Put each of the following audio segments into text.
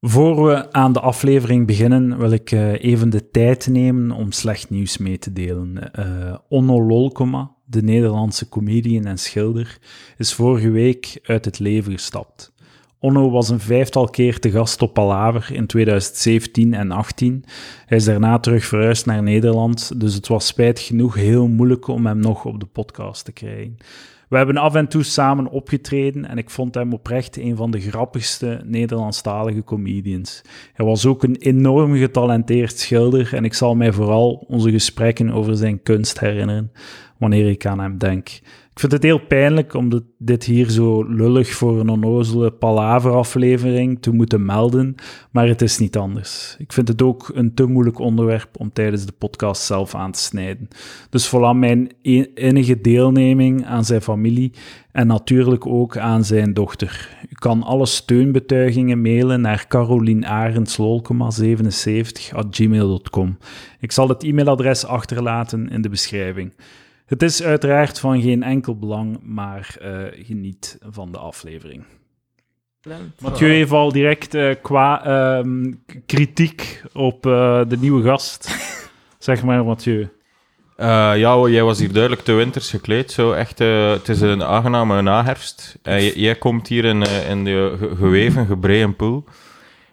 Voor we aan de aflevering beginnen, wil ik eh, even de tijd nemen om slecht nieuws mee te delen. Eh Onno Lolkoma, de Nederlandse comedian en schilder, is vorige week uit het leven gestapt. Onno was een vijftal keer te gast op Palaver in 2017 en 18. Hij is daarna terug verhuisd naar Nederland, dus het was spijtig genoeg heel moeilijk om hem nog op de podcast te krijgen. We hebben af en toe samen opgetreden en ik vond hem oprecht een van de grappigste Nederlandstalige comedians. Hij was ook een enorm getalenteerd schilder en ik zal mij vooral onze gesprekken over zijn kunst herinneren wanneer ik aan hem denk. Ik vind het heel pijnlijk om dit- dit hier zo lullig voor een onnozele palaveraflevering te moeten melden, maar het is niet anders. Ik vind het ook een te moeilijk onderwerp om tijdens de podcast zelf aan te snijden. Dus vooral mijn e- innige deelneming aan zijn familie en natuurlijk ook aan zijn dochter. U kan alle steunbetuigingen mailen naar carolienarenslolkema77 gmail.com. Ik zal het e-mailadres achterlaten in de beschrijving. Het is uiteraard van geen enkel belang, maar eh, geniet van de aflevering. Mathieu heeft al direct eh, qua ehm, k- kritiek op eh, de nieuwe gast. zeg maar, Mathieu. Eh, ja, wel, jij was hier duidelijk te winters gekleed. Zo echt, eh, het is een aangename naherfst. En j- jij komt hier in, eh, in de ge- geweven, gebreien poel.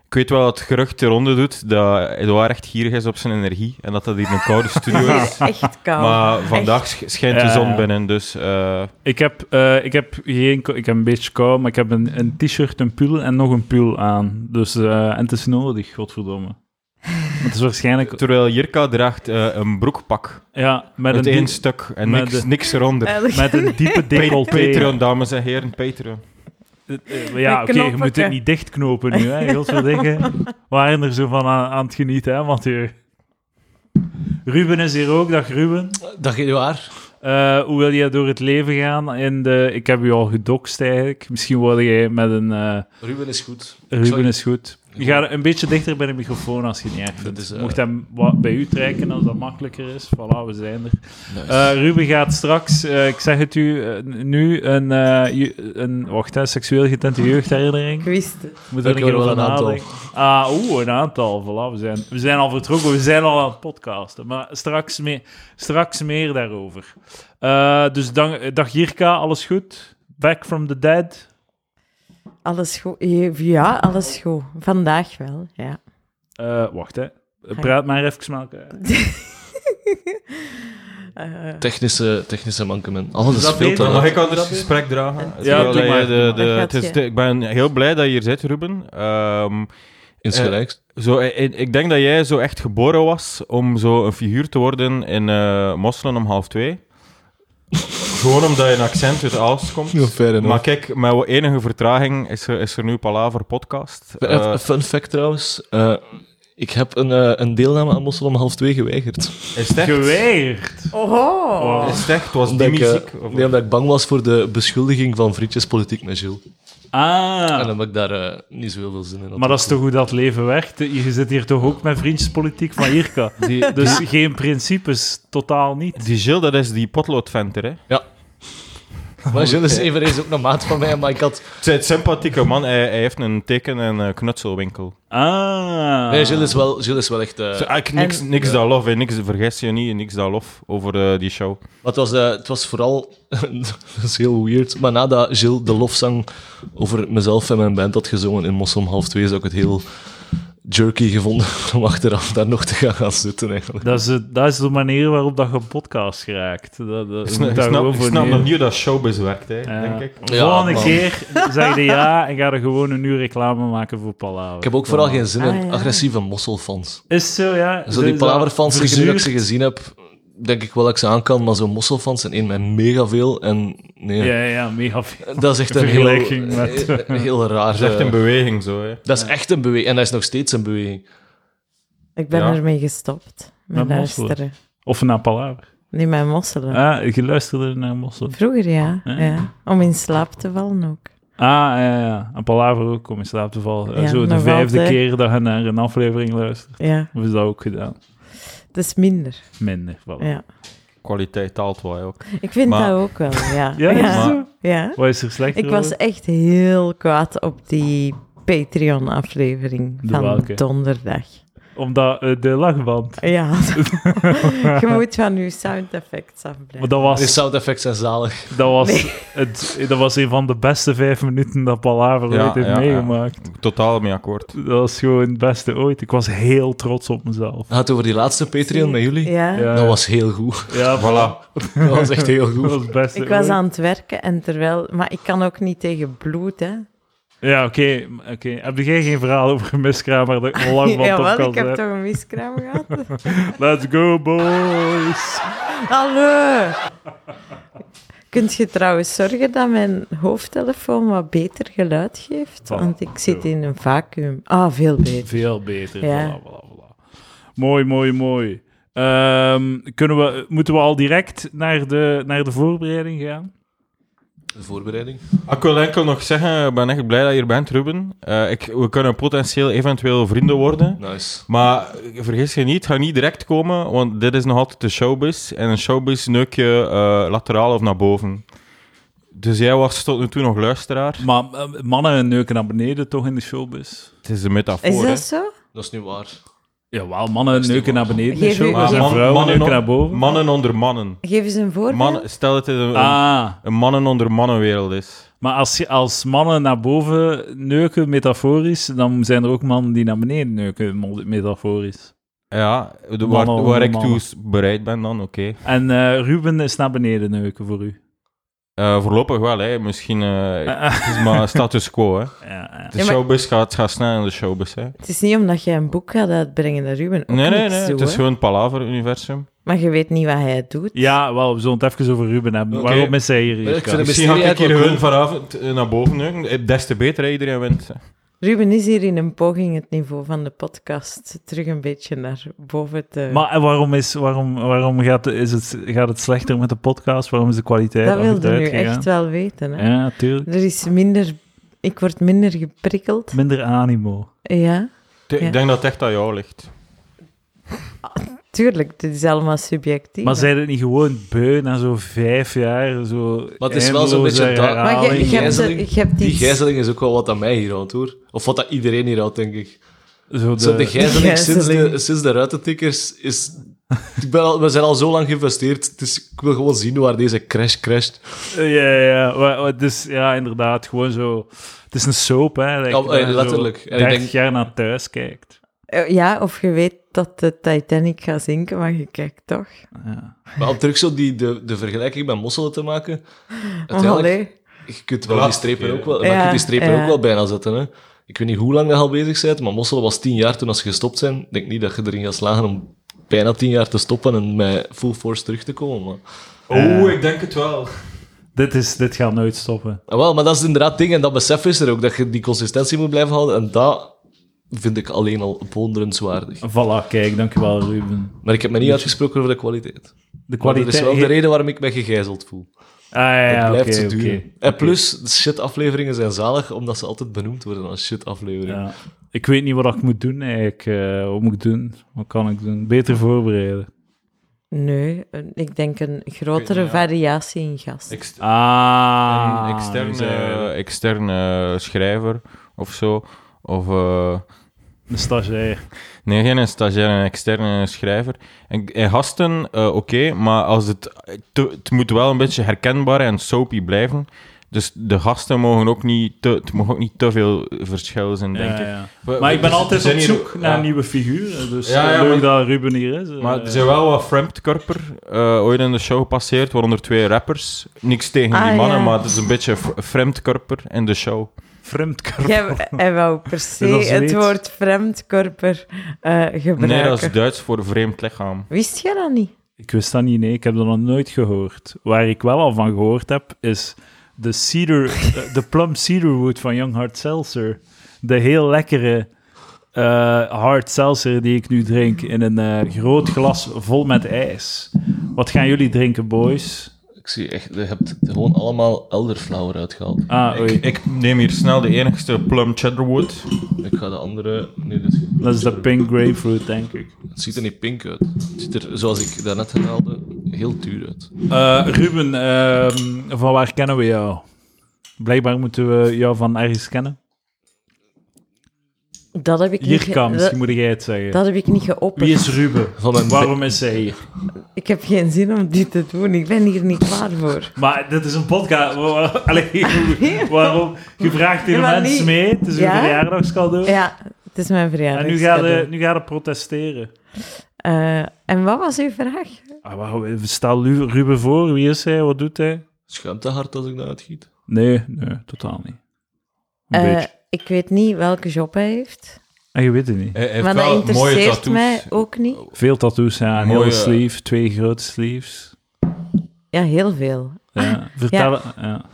Ik weet wel dat het gerucht eronder doet dat Edouard echt gierig is op zijn energie. En dat dat hier een koude studio Het is. is echt koud. Maar vandaag sch- schijnt de Ja, zon ja. binnen, dus... eh, Ik heb, eh, ik heb geen... ko- Ik heb een beetje kou, maar ik heb een, een t-shirt, een pull en nog een pull aan. Dus, eh, en het is nodig, godverdomme. Maar Het is waarschijnlijk... terwijl Jirka draagt eh, een broekpak Ja, met met een, één die- stuk en met niks, de- niks eronder. Eigenlijk- met een diepe Pa- decolleté. Patreon, dames en heren, Patreon. Eh, eh, Ja, Met oké, je knoppen, moet het hè. niet dichtknopen nu, hè. Heel veel dingen We waren er zo van aan, aan het genieten, hè, Mathieu. Ruben is hier ook. Dag, Ruben. Dag Eduard. Eh, hoe wil jij door het leven gaan? In de, ik heb je al gedokst, eigenlijk. Misschien word jij met een... eh, Ruben is goed. Ruben Sorry. is goed. Je gaat een beetje dichter bij de microfoon als je het niet erg vindt. Dat is, eh, Mocht hem wat bij u trekken als dat makkelijker is. Voilà, we zijn er. Nice. Eh, Ruben gaat straks, eh, ik zeg het u eh, nu, een, eh, ju- een wacht, hè, seksueel getente jeugdherinnering. Ik wist het. Moeten we Ik er een keer wil over wel een aantal. nadenken. Ah, oeh, een aantal. Voilà, we, zijn, we zijn al vertrokken, we zijn al aan het podcasten. Maar straks, mee, straks meer daarover. Eh, dus dan, dag Jirka, alles goed? Back from the dead? Alles goed. Eh, Ja, alles goed. Vandaag wel, ja. Eh, wacht, hè. Praat maar even met elkaar. Eh, Technische, technische mankement. Alles Is is dat veel te beter? Dan laat. mag ik anders het gesprek dragen? Ja, Terwijl doe je maar. de- de- Dat gaat het is je. de- ik ben heel blij dat je hier zit, Ruben. Ehm, Insgelijks. Zo, i- i- ik denk dat jij zo echt geboren was om zo een figuur te worden in eh, Mosselen om half twee. Gewoon omdat je een accent uit Aalst komt. fair Maar kijk, met wat enige vertraging is er, is er nu Palaver podcast. Eh, fun fact trouwens. eh, ik heb een, eh, een deelname aan Mossel om half twee geweigerd. is het echt? Geweigerd. Oh. Is het echt? Was Omdat die ik, eh, muziek? Of- nee, omdat ik bang was voor de beschuldiging van vriendjespolitiek met Gilles. En Ah. dan heb ik daar eh, niet zo heel veel zin in. had. Maar dat is toch hoe dat leven werkt? Je zit hier toch ook met vriendjespolitiek van Jirka? die, Dus geen principes, totaal niet. die Gilles, dat is die potloodventer, hè? Maar Gilles is eveneens ook een maat van mij, maar ik had... Het is een sympathieke man. Hij, hij heeft een teken- en eh, knutselwinkel. Ah. Nee, Gilles is wel, Gilles is wel echt... eh, Zo, eigenlijk niks, En- niks Ja. dat lof, hè. niks, vergis je niet, niks dat lof over eh, die show. Maar het was, eh, het was vooral, dat is heel weird, maar nadat Gilles de lofzang over mezelf en mijn band had gezongen in Mossom half twee, zou ik het heel jerky gevonden om achteraf daar nog te gaan, gaan zitten eigenlijk. Dat is, de- dat is de manier waarop dat je een podcast geraakt. Dat, dat, Ik je snap, moet ik daar snap, gewoon ik voor snap nemen. nog niet hoe dat showbiz werkt, hè, Ja. denk ik. Ja, Volgende man. keer zeg je ja en ga er gewoon een uur reclame maken voor Palaver. Ik heb ook vooral geen zin in Ah, ja. agressieve mosselfans. Is zo, ja. Zo die Is dat palaverfans, die ik nu dat ik ze verzuurd? gezien heb, denk ik wel dat ik ze aan kan, maar zo'n mosselfans zijn één met mega veel en nee. Ja, ja, mega veel. Dat is echt een heel, Vergelijking met- een heel raar... Dat is echt eh, een beweging zo. Hè. dat is echt een beweging en dat is nog steeds een beweging. Ik ben Ja. ermee gestopt. Met Met mosselen. luisteren. Of naar Palaver. Nee, met mosselen. Ah, je luisterde naar Mossel. Ah, Vroeger, ja. Ja. ja. Om in slaap te vallen ook. Ah, ja, ja, ja. Een palaver ook, om in slaap te vallen. Eh, Ja, zo de nog vijfde altijd. keer dat je naar een aflevering luistert. Ja, Hebben ze dat ook gedaan? het is minder. Minder. Voilà. Ja. Kwaliteit daalt wel hè, ook. Ik vind Maar- dat ook wel, ja. Ja, is ja. het Maar- zo? ja. Wat is er slecht Ik over? was echt heel kwaad op die Patreon-aflevering De van welke? donderdag. Omdat eh, de lachband. Ja, je moet van je sound effects Maar dat afblijven. De was, sound effects zijn zalig. dat, was Nee. het, dat was een van de beste vijf minuten dat Palaver Ja, ooit heeft ja, ja. meegemaakt. Totaal mee akkoord. Dat was gewoon het beste ooit. Ik was heel trots op mezelf. Gaat het over die laatste Patreon met jullie? Ja. Ja, Dat was heel goed. ja, Voilà. Dat was echt heel Dat was goed. het beste Ik was ooit. aan het werken en terwijl... Maar ik kan ook niet tegen bloed, hè. Ja, oké. oké. Heb jij geen verhaal over een miskramer dat ik al lang van Ja, op wel, kan ik heb zijn? toch een miskraam gehad? Let's go, boys! Hallo! Kunt je trouwens zorgen dat mijn hoofdtelefoon wat beter geluid geeft? Voilà. Want ik zit in een vacuüm. Ah, veel beter. Veel beter. Ja. Voilà, voilà, voilà. Mooi, mooi, mooi. Ehm, kunnen we, moeten we al direct naar de, naar de voorbereiding gaan? De voorbereiding. Ik wil enkel nog zeggen, ik ben echt blij dat je er bent, Ruben. Eh, ik, we kunnen potentieel eventueel vrienden worden. Nice. Maar eh, vergis je niet, ga niet direct komen, want dit is nog altijd de showbiz. En een showbiz neuk je eh, lateraal of naar boven. Dus jij was tot nu toe nog luisteraar. Maar eh, mannen neuken naar beneden toch in de showbiz? Het is een metafoor, Is hè. dat zo? Dat is nu waar. Jawel, mannen neuken naar beneden in de Geef u- showbiz Maar en Ah, man- vrouwen mannen, neuken on- naar boven. mannen onder mannen. Geef eens een voorbeeld. mannen stel dat het een, Ah, een mannen onder mannenwereld is. maar als, je, als mannen naar boven neuken, metaforisch, dan zijn er ook mannen die naar beneden neuken, mo- metaforisch. Ja, de- waar, Mannen onder waar ik toe mannen. s- bereid ben dan, oké. En eh, Ruben is naar beneden neuken voor u. Eh, voorlopig wel, hè. Misschien... eh, Ah, het is maar status quo, hè. Ja, ja. De Ja, maar- showbiz gaat, gaat snel in de showbiz, hè. Het is niet omdat jij een boek gaat uitbrengen dat Ruben ook Nee, nee, niks nee. doet, Het is hè. gewoon palaver-universum. Maar je weet niet wat hij doet. Ja, wel, we zullen het even over Ruben hebben. Oké. Waarom is hij hier? hier, Maar ik vind Karel? hem- Misschien ga ik Mysterie hier eigenlijk hun vanavond eh, naar boven neuken. Eh, Des te beter, hè, iedereen wint. Ruben is hier in een poging het niveau van de podcast terug een beetje naar boven te... Maar en waarom, is, waarom, waarom gaat, is het, gaat het slechter met de podcast? Waarom is de kwaliteit dat wilde nu achteruit gegaan? echt wel weten, hè. Ja, tuurlijk. Er is minder... Ik word minder geprikkeld. Minder animo. Ja. T- Ja. Ik denk dat het echt aan jou ligt. Tuurlijk, dit is allemaal subjectief. Maar zijn het niet gewoon beu na zo'n vijf jaar? Zo Maar het is wel zo'n beetje eindeloze dat- Maar je- herhaling? je hebt, Gijzeling. je hebt Die iets... gijzeling is ook wel wat aan mij hier houdt, hoor. Of wat dat iedereen hier houdt, denk ik. Zo de- Zo, de gijzeling sinds de, gijzeling. sinds de ruitentikkers is... Ik ben al, we zijn al zo lang geïnvesteerd, dus ik wil gewoon zien waar deze crash crasht. Ja, ja, ja. Wa- wa- Dus ja, inderdaad. Gewoon zo... Het is een soap, hè. dat je Ja, eh, daar zo letterlijk. En ik 30 denk- jaar naar thuis kijkt. Eh, Ja, of je weet dat de Titanic gaat zinken, maar je kijkt toch. Ja. Maar om terug zo die, de, de vergelijking met mosselen te maken... Oh, Uiteindelijk, allee. je kunt De wel die laatste strepen keer, ook wel, maar hè. je kunt die Ja, strepen ja. ook wel bijna zetten. Hè. Ik weet niet hoe lang dat je al bezig bent, maar mosselen was tien jaar toen als ze gestopt zijn. Ik denk niet dat je erin gaat slagen om bijna tien jaar te stoppen en met full force terug te komen. Maar... Eh. Oeh, Oh, ik denk het wel. Dit, is, dit gaat nooit stoppen. Ah, Wel, maar dat is inderdaad het ding. En dat besef is er ook, dat je die consistentie moet blijven houden. En dat vind ik alleen al bewonderenswaardig. Voilà, kijk. Dankjewel, Ruben. Maar ik heb me niet uitgesproken over de kwaliteit. De Maar dat Dus- kwaliteit... is wel de reden waarom ik mij gegijzeld voel. Ah, ja, Het ja, blijft oké, zo oké. duur. En plus, shit-afleveringen zijn zalig, omdat ze altijd benoemd worden als shit-afleveringen. Ja. Ik weet niet wat ik moet doen eigenlijk. eh, wat moet ik doen? Wat kan ik doen? Beter voorbereiden. Nee, een- ik denk een Ik weet grotere niet, ja. variatie in gast. Ex- Ah. een dus, eh, externe, externe schrijver of zo. Of, eh, Een stagiair. nee, geen stagiair, een externe schrijver. En, en gasten, eh, oké, maar als het, te- het moet wel een beetje herkenbaar en soapy blijven. Dus de gasten mogen ook niet te, het mag ook niet te veel verschil zijn, denk Ja, ik. ja. We- Maar we- ik ben er altijd zijn op hier zoek ook- naar ja. nieuwe figuren. Dus Ja, eh, ja, leuk maar- dat Ruben hier is. eh. Maar er zijn wel wat vreemdkorper eh, ooit in de show gepasseerd, waaronder twee rappers. Niks tegen Ah, die mannen, ja. maar het is een beetje v- vreemdkorper in de show. Vreemdkorper. Jij hij wou per se Dat is het zoiets. woord vreemdkorper eh, gebruiken. Nee, dat is Duits voor vreemd lichaam. Wist je dat niet? Ik wist dat niet, nee. Ik heb dat nog nooit gehoord. Waar ik wel al van gehoord heb, is de, cedar, eh, de plum cedarwood van Young Hard Seltzer. De heel lekkere eh, hard seltzer die ik nu drink in een eh, groot glas vol met ijs. Wat gaan jullie drinken, boys? Ik zie echt, je hebt gewoon allemaal elderflower uitgehaald. Ah, oei. Ik, ik neem hier snel de enigste plum cheddarwood. Ik ga de andere... Nee, dit is- Dat is de pink grapefruit, denk ik. Het ziet er niet pink uit. Het ziet er, zoals ik daarnet haalde, heel duur uit. Eh, Ruben, ehm, van waar kennen we jou? Blijkbaar moeten we jou van ergens kennen. Dat heb ik niet... ge- Jirka, misschien dat, moet jij het zeggen. eh, dat heb ik niet geopperd. Wie is Ruben? Van mijn Waarom is hij hier? Ik heb geen zin om dit te doen. Ik ben hier niet klaar voor. Maar dit is een podcast. wa- wa- Allee, hoe- waarom? Je vraagt hier Ja, maar mensen niet- mee. Het is een Ja? verjaardagscadeau. Ja, het is mijn En verjaardag. nu gaat je, nu ga je protesteren. Eh, en wat was uw vraag? Ah, waarom- stel Lu- Ruben voor. Wie is hij? Wat doet hij? Schuimt te hard als ik dat uitgiet. Nee, nee, totaal niet. Een Eh, beetje. ik weet niet welke job hij heeft. En Ah, je weet het niet. Hij heeft maar wel dat mooie interesseert tattoos. mij ook niet. Veel tattoos, ja. Een Mooie- hele sleeve, twee grote sleeves. Ja, heel veel. Ja. Vertel, ja.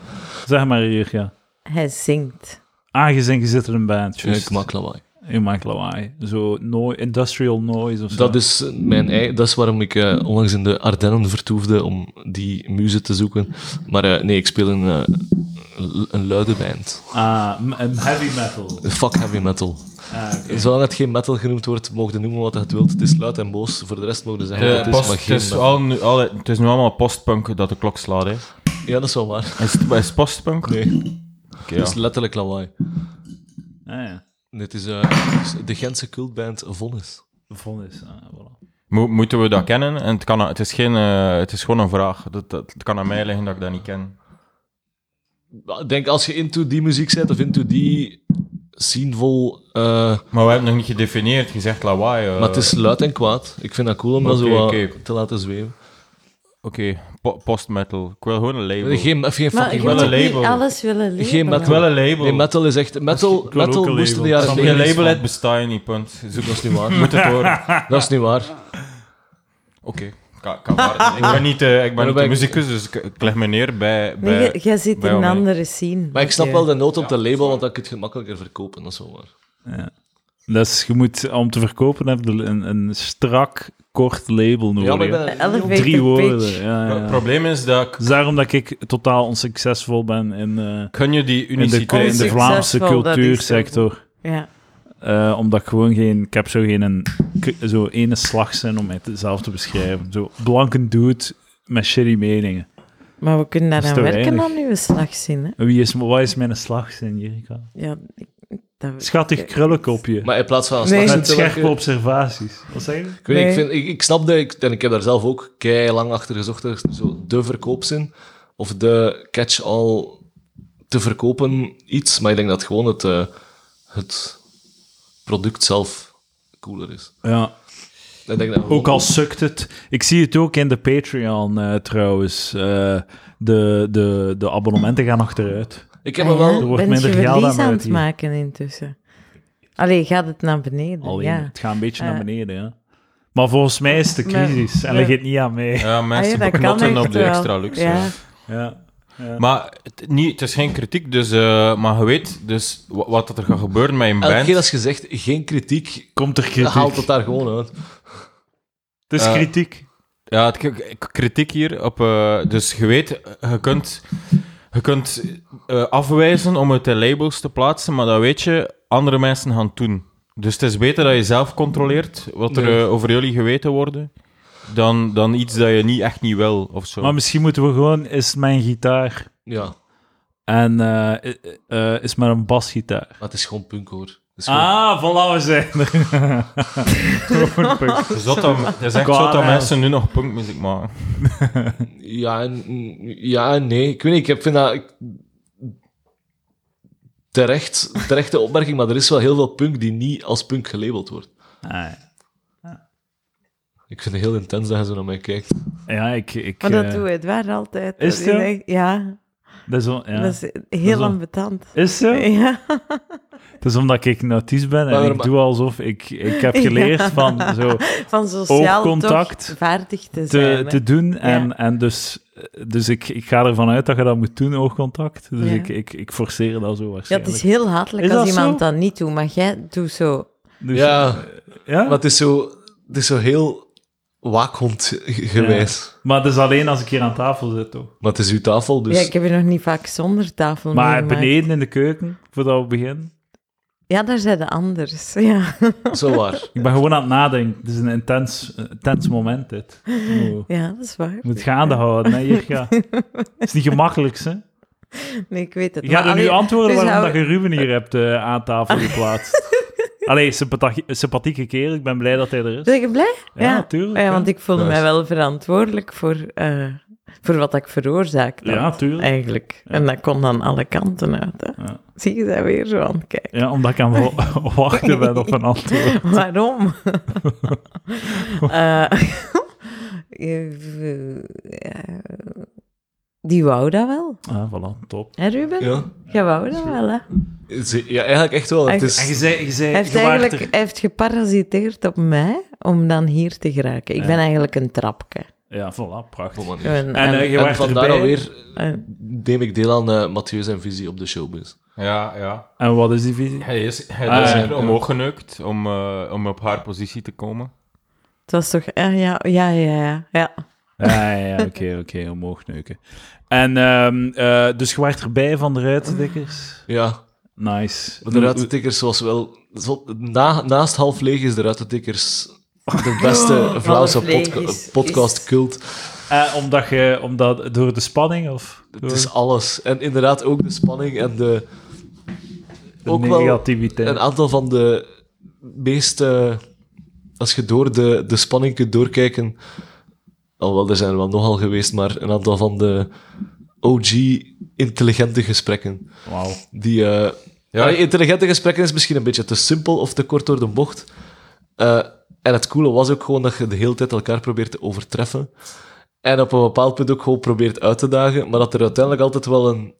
Zeg maar hier, ja. Hij zingt. Aangezien je zit er een band, Ja, juist. ik maak lawaai. Je maakt lawaai. Zo no industrial noise of zo. Dus Dat is, mijn, ei- dat is waarom ik eh, onlangs in de Ardennen vertoefde om die muze te zoeken. Maar eh, nee, ik speel in eh, l- een luide band. Ah, m- een heavy metal. Fuck heavy metal. Ah, oké. Zolang het geen metal genoemd wordt, mogen je noemen wat je het wilt. Het is luid en boos. Voor de rest mogen ze zeggen Eh, wat het is, post- maar het, geen is metal. al nu, al, het is nu allemaal postpunk dat de klok slaat. Hè. Ja, dat is wel waar. Is, het, is het postpunk? Nee, Oké, het is ja. letterlijk lawaai. Ah, ja. Dit is eh, de Gentse cultband Vonnis. Vonnis. Ah, voilà. Mo- moeten we dat kennen? En het, kan, het, is, geen, eh, het is gewoon een vraag. Dat, dat, het kan aan mij liggen dat ik dat niet ken. Ja, Ik denk als je into die muziek zit of into die scenevol. eh, Maar we hebben het nog niet gedefinieerd. Je zegt lawaai. eh. maar het is luid en kwaad. Ik vind dat cool om dat zo Oké, wat oké. te laten zweven. Oké, po- postmetal. Ik wil gewoon een label. Geen, of geen Maar wil fucking je metal. moet een niet label. alles willen leren. Geen Ik wil een label. Nee, metal is echt... Metal, wil ook metal een moest in label. de jaren Snap je 90 label van. uit bestaat je niet, punt. Zoek Dat is ons niet waar. moet het horen. dat is niet waar. Oké. Kan- kan waar. Ik ben niet, eh, ik ben Maar niet ben de ik- muzikus, dus ik, ik leg me neer bij... bij Nee, jij zit bij in een Omega. andere scene. Maar ik snap Ja. wel de nood op de label, want dan kun je het gemakkelijker verkopen. Dat is wel waar. Ja. Dus je moet, om te verkopen, heb je een, een strak, kort label nodig. Ja, maar ik hè. ben er niet op- Elevator Drie pitch. woorden. Ja, ja. Het probleem is dat ik... Dus daarom dat ik totaal onsuccesvol ben in, eh, Kun je die in, de, uniciteit... in de Vlaamse Onsuccesvol, dat is cultuursector. Ja. Eh, omdat ik gewoon geen... Ik heb zo geen een, k- zo ene slagzin om mijzelf te beschrijven. Zo blanken dude met shitty meningen. Maar we kunnen Dat is daaraan te werken weinig. aan uw slagzin. Hè? Wie is, wat is mijn slagzin, Jirika? Ja, ik- dat... Schattig krullenkopje. Maar in plaats van... een Nee. slag- met te scherpe werken- observaties. Wat zei je? Ik, weet niet, ik, Nee. vind, ik, ik snap dat, ik, en ik heb daar zelf ook kei lang achter gezocht, dat is zo de verkoopzin of de catch-all te verkopen iets, maar ik denk dat gewoon het, eh, het product zelf cooler is. Ja, Ik denk dat gewoon- ook al sukt het. Ik zie het ook in de Patreon eh, trouwens. Eh, de, de, de abonnementen gaan achteruit. Ik heb er wel... Ah ja, Er wordt bent minder je geld aan verlies aan uit het hier. maken intussen. Allee, gaat het naar beneden? Alleen, ja. het gaat een beetje Eh. naar beneden. Ja. Maar volgens mij is het de Maar- crisis. en maar- dat geeft niet aan mij. Ja, Ah ja, mensen dat kan beknotten echt op de wel. extra luxe. Ja. Ja. Ja. Maar het, niet, het is geen kritiek, dus, eh, maar je weet dus wa- wat, dat er gaat gebeuren met een Elke band. keer als je zegt, geen kritiek, Komt er kritiek? haalt het daar gewoon uit. Het is Eh, kritiek. Ja, het, k- k- kritiek hier op... eh, dus je weet, eh, je kunt, je kunt eh, afwijzen om het in labels te plaatsen, maar dat weet je, andere mensen gaan het doen. Dus het is beter dat je zelf controleert wat er Nee. eh, over jullie geweten wordt, dan, dan iets dat je niet, echt niet wil, of zo. Maar misschien moeten we gewoon... Is het mijn gitaar? Ja, En eh, eh, eh, is het maar een basgitaar? maar het is gewoon punk hoor. Het is gewoon- Ah, voilà, we zijn er. Gewoon punk. Het is, zot dat, het is echt Kwaad, zo dat hè. mensen nu nog punkmuziek maken. Ja, en, ja en nee. Ik weet niet, ik heb- vind dat... ik- terecht, terechte opmerking, maar er is wel heel veel punk die niet als punk gelabeld wordt. Ah, ja. Ik vind het heel intens dat je zo naar mij kijkt. ja, ik... ik Maar dat eh, doe je het waar altijd. Is Dat het zo? echt- ja, dat is wel- ja. dat is heel wel- ambetant. Is zo? Ja. Het is omdat ik nautisch ben en Maar- ik doe alsof ik, ik heb geleerd Ja. van zo Van sociaal Oogcontact toch vaardig te zijn. te, hè. te doen. En, en dus, dus ik, ik ga ervan uit dat je dat moet doen, oogcontact. Dus Ja. ik, ik, ik forceer dat zo ja, het waarschijnlijk. is heel hatelijk Is als dat iemand zo? dat niet doet, maar jij doet zo. Dus- Ja, ja? maar het is zo, het is zo heel waakhond gewijs. Maar dat is alleen als ik hier aan tafel zit, toch? Maar het is uw tafel, dus... Ja, ik heb je nog niet vaak zonder tafel Maar meegemaakt. beneden in de keuken, voordat we beginnen. Ja, daar zijn de anders. Ja. Zo waar. Ik ben gewoon aan het nadenken. Het is een intens, intens moment, dit. Oh. ja, dat is waar. Je moet gaande houden, hè, Jirka. Het is niet gemakkelijk, hè? Nee, ik weet het. Je gaat Maar er nu allee, antwoorden dus waarom dat hou- je Ruben hier hebt eh, aan tafel geplaatst. Allee, sympathie- sympathieke kerel. Ik ben blij dat hij er is. Ben Dus je blij? Ja, tuurlijk, Ja, ja. want ik voelde Juist. mij wel verantwoordelijk voor, eh, voor wat ik veroorzaakte. Ja, tuurlijk. Eigenlijk. En dat kon dan alle kanten uit. Hè. Ja. Zie je dat weer zo aan het kijken? Ja, omdat ik aan het wachten ben op een antwoord. Waarom? Eh, eh, eh, die wou dat wel, Ah, voilà, top. hè Ruben? Ja. Jij wou dat wel, hè? Ze- ja, eigenlijk echt wel. Het Echt. En is, je zei, je zei, Hij heeft, je waart eigenlijk, er- hij heeft geparasiteerd op mij om dan hier te geraken. Ik ben eigenlijk een trapje. Ja, voilà, prachtig. Kom maar. Een- En een- eh, je en waart vandaar erbij. alweer een- neem ik deel aan eh Mathieu zijn visie op de showbiz. Ja, ja. En wat is die visie? Hij is, hij Ah, is ja, er ja. omhoog geneukt om, eh, om op haar positie te komen. het was toch... eh, ja, ja, ja, ja, ja. Ah, Ja, ja, ja, oké, oké, omhoog neuken. En ehm, eh, dus je waart erbij van de ruitendikkers. Ja, Nice. de ruitentikkers was wel... zo- Na, naast Half Leeg is de ruitentikkers de beste Vlaamse Oh. Half Leeg podca- is- podcastcult. Eh, omdat je, omdat, door de spanning of door Het is alles. En inderdaad ook de spanning en de... de ook wel negativiteit? Een aantal van de meest... eh, als je door de, de spanning kunt doorkijken... Alhoewel, er zijn er wel nogal geweest, maar een aantal van de OG-intelligente gesprekken. Wauw. Die, eh, Ja. allee, intelligente gesprekken is misschien een beetje te simpel of te kort door de bocht. Eh, en het coole was ook gewoon dat je de hele tijd elkaar probeert te overtreffen. En op een bepaald punt ook gewoon probeert uit te dagen. Maar dat er uiteindelijk altijd wel een,